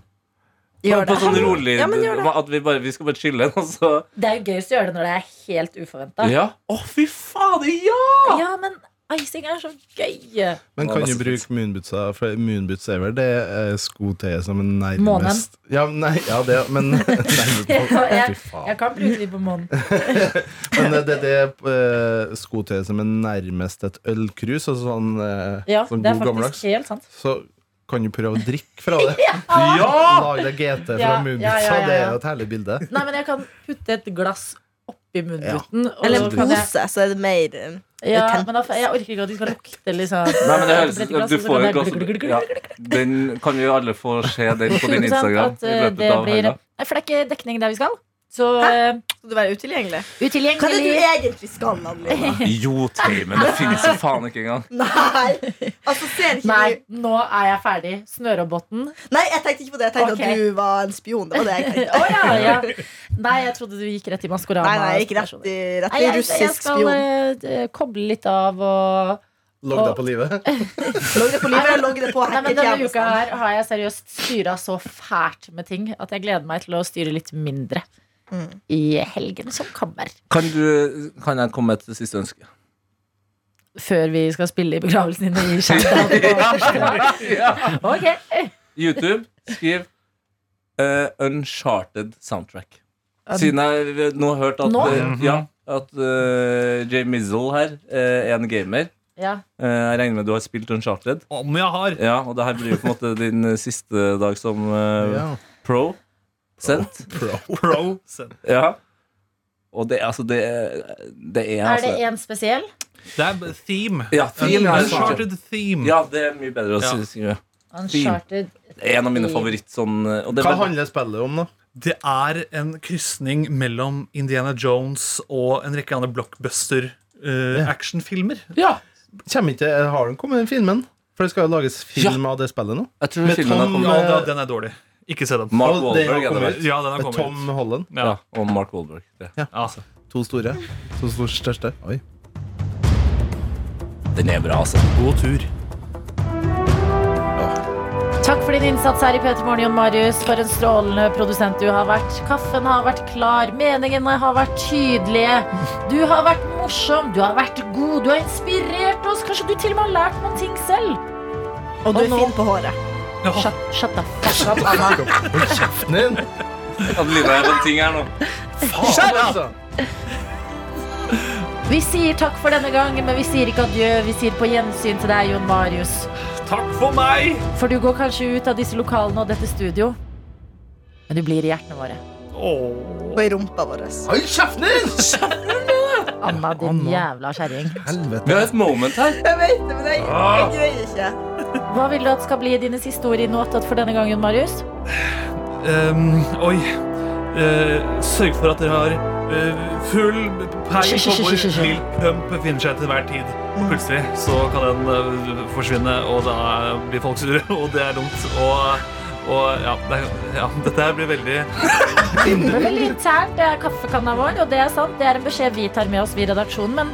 Gjør
på, på
det.
sånn rolig
Ja, men gjør det.
At vi, bare, vi skal bare chille, og så
Det er jo gøyest å gjøre det når det er helt uforventa.
Ja. Å, fy fader, ja!
Ja, men icing er så gøy.
Men kan du bruke moonbootsa? For moonboots er vel det eh, sko til som er
Månen.
nærmest ja, nei, ja, det, men nærmest
jeg, jeg,
Fy faen.
jeg kan bruke de på månen.
Men eh, det er det eh, sko til som er nærmest et ølkrus, altså sånn, eh,
Ja,
sånn
det er
god gammeldags.
faktisk helt sant.
Så kan du prøve å drikke fra det.
Ja!
Lag deg GT fra
Ja,
moonbootsa.
ja, ja, ja,
Det er
ja.
jo et herlig bilde.
Nei, men jeg kan putte et glass oppi munnbuten. og
Eller en
så kan jeg-
pose, så er det mer eh,
Ja,
tent.
men da, jeg orker ikke at de skal lukte liksom
Nei, men det høres
Et glass,
Du
og så
får
kan
et
det-
glass ja. Den kan vi jo alle få se den på din
Ikke sant?
Instagram.
At, eh,
i
det
løpet av
blir,
helga.
Nei, for det er ikke dekning der vi skal. Så eh,
Skal du være utilgjengelig?
Utilgjengelig.
Hva er det du egentlig skal, Adelina?
Jo, Teimen, det finnes jo faen ikke engang.
Nei, altså ser ikke
Nei,
du
nå er jeg ferdig. Snørobotn.
Nei, jeg tenkte ikke på det. Jeg tenkte
Ok.
at du var en spion. Det var det jeg tenkte.
Å, ja, ja. Nei, jeg trodde du gikk rett i Maskorama.
Nei, nei, jeg gikk rett i, rett
Nei,
i
jeg- Jeg
russisk
skal
spion.
eh, d- koble litt av og
Logg deg på livet.
Logg det på livet, logg det på
Nei, men
hacket
Denne
jævla
uka her har jeg seriøst styra så fælt med ting at jeg gleder meg til å styre litt mindre i helgen som kommer.
Kan, du, kan jeg komme med et siste ønske?
Før vi skal spille i begravelsen din i Kjentdal. Ok.
YouTube, skriv eh, Uncharted soundtrack. Siden jeg nå har hørt at,
Nå?
eh, ja, at eh, Jay Mizzle her eh, er en gamer.
Ja.
Eh, jeg regner med du har spilt Uncharted?
Om jeg har!
Ja, Og det her blir jo på en måte din eh, siste dag som eh,
Ja.
pro. Sendt.
Pro.
Ja. Og det, altså, det, det er
Er
altså
det en spesiell?
Det er theme.
Ja, theme er
Uncharted theme.
Ja, det er mye bedre å
Ja.
si- skrive. Theme.
Uncharted.
Det er en av mine favoritt sånn og det er
Hva
bare-
handler spillet om, da?
Det er en krysning mellom Indiana Jones og en rekke andre blockbuster eh, actionfilmer.
Kjem ikke, har den kommet, den filmen? For det skal jo lages film av det spillet nå.
Jeg tror filmen har kommet.
Ja, da, den er dårlig. Ikke se den.
Mark
Og det
Wahlberg
har
er det
kommet
vel?
ut.
Ja, den har
Med
kommet
Tom
ut.
Holland.
Ja. og Mark Wahlberg. Det.
Ja. To store. To store største. Oi.
Den er bra, altså.
God tur.
Takk for din innsats her i Peter Morgen, Jon Marius. For en strålende produsent du har vært. Kaffen har vært klar, meningene har vært tydelige. Du har vært morsom, du har vært god, du har inspirert oss. Kanskje du til og med har lært noen ting selv.
Og du er
nå-
fin på håret.
Shut, shut the fuck up, Anna.
Hold kjeften din!
Adelina er på en ting her nå.
Shut up!
Vi sier takk for denne gang, men vi sier ikke adjø. Vi sier på gjensyn til deg, Jon Marius.
Takk for meg!
For du går kanskje ut av disse lokalene og dette studio, men du blir i hjertene våre.
Og i rumpa vår.
Hold kjeften din!
Anna, din jævla kjerring.
Vi har et moment her.
Jeg vet det, men jeg, jeg greier ikke.
Hva vil du at skal bli dine siste ord i Notat for denne gangen, Marius?
Ehm, oi. Eh, sørg for at dere har eh, full peil på hvor Lil Pump befinner seg til hver tid. Og plutselig så kan den eh, forsvinne, og da blir folk sure, og det er dumt. Og, og ja, det, er- ja, dette her blir veldig
Det er veldig internt, det er kaffekanna vår, og det er sant. Det er en beskjed vi tar med oss, vi i redaksjonen. Men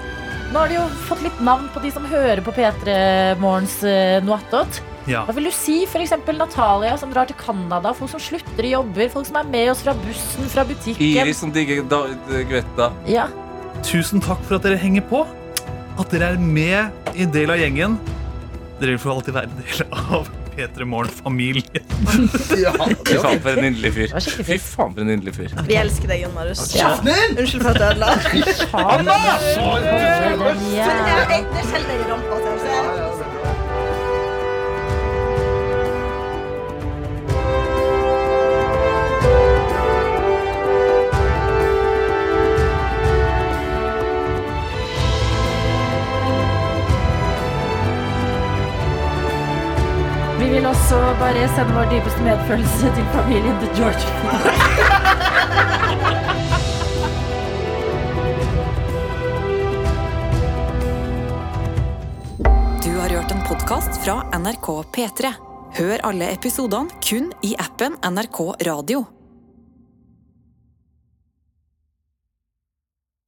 nå har de jo fått litt navn på de som hører på P3 Morgens eh, noe attåt.
Ja.
Hva vil du si f.eks. Natalia som drar til Canada, folk som slutter i jobber, folk som er med oss fra bussen, fra butikken?
Iris som digger David Guetta.
Ja.
Tusen takk for at dere henger på. At dere er med i en del av gjengen. Dere vil for alltid være en del av P3 Morgen-familien.
Fy faen, for en nydelig fyr.
skikkelig
Fy faen, for en nydelig fyr.
Vi elsker deg, Jon Marius.
Ja. Kjeften
Unnskyld for at jeg ødela.
Anna!
Jeg- jeg- Det er sjelden jeg ramper til. så jeg-
Vi vil også bare sende vår dypeste medfølelse til familien til George.
Du har hørt en podkast fra NRK P3. Hør alle episodene kun i appen NRK Radio.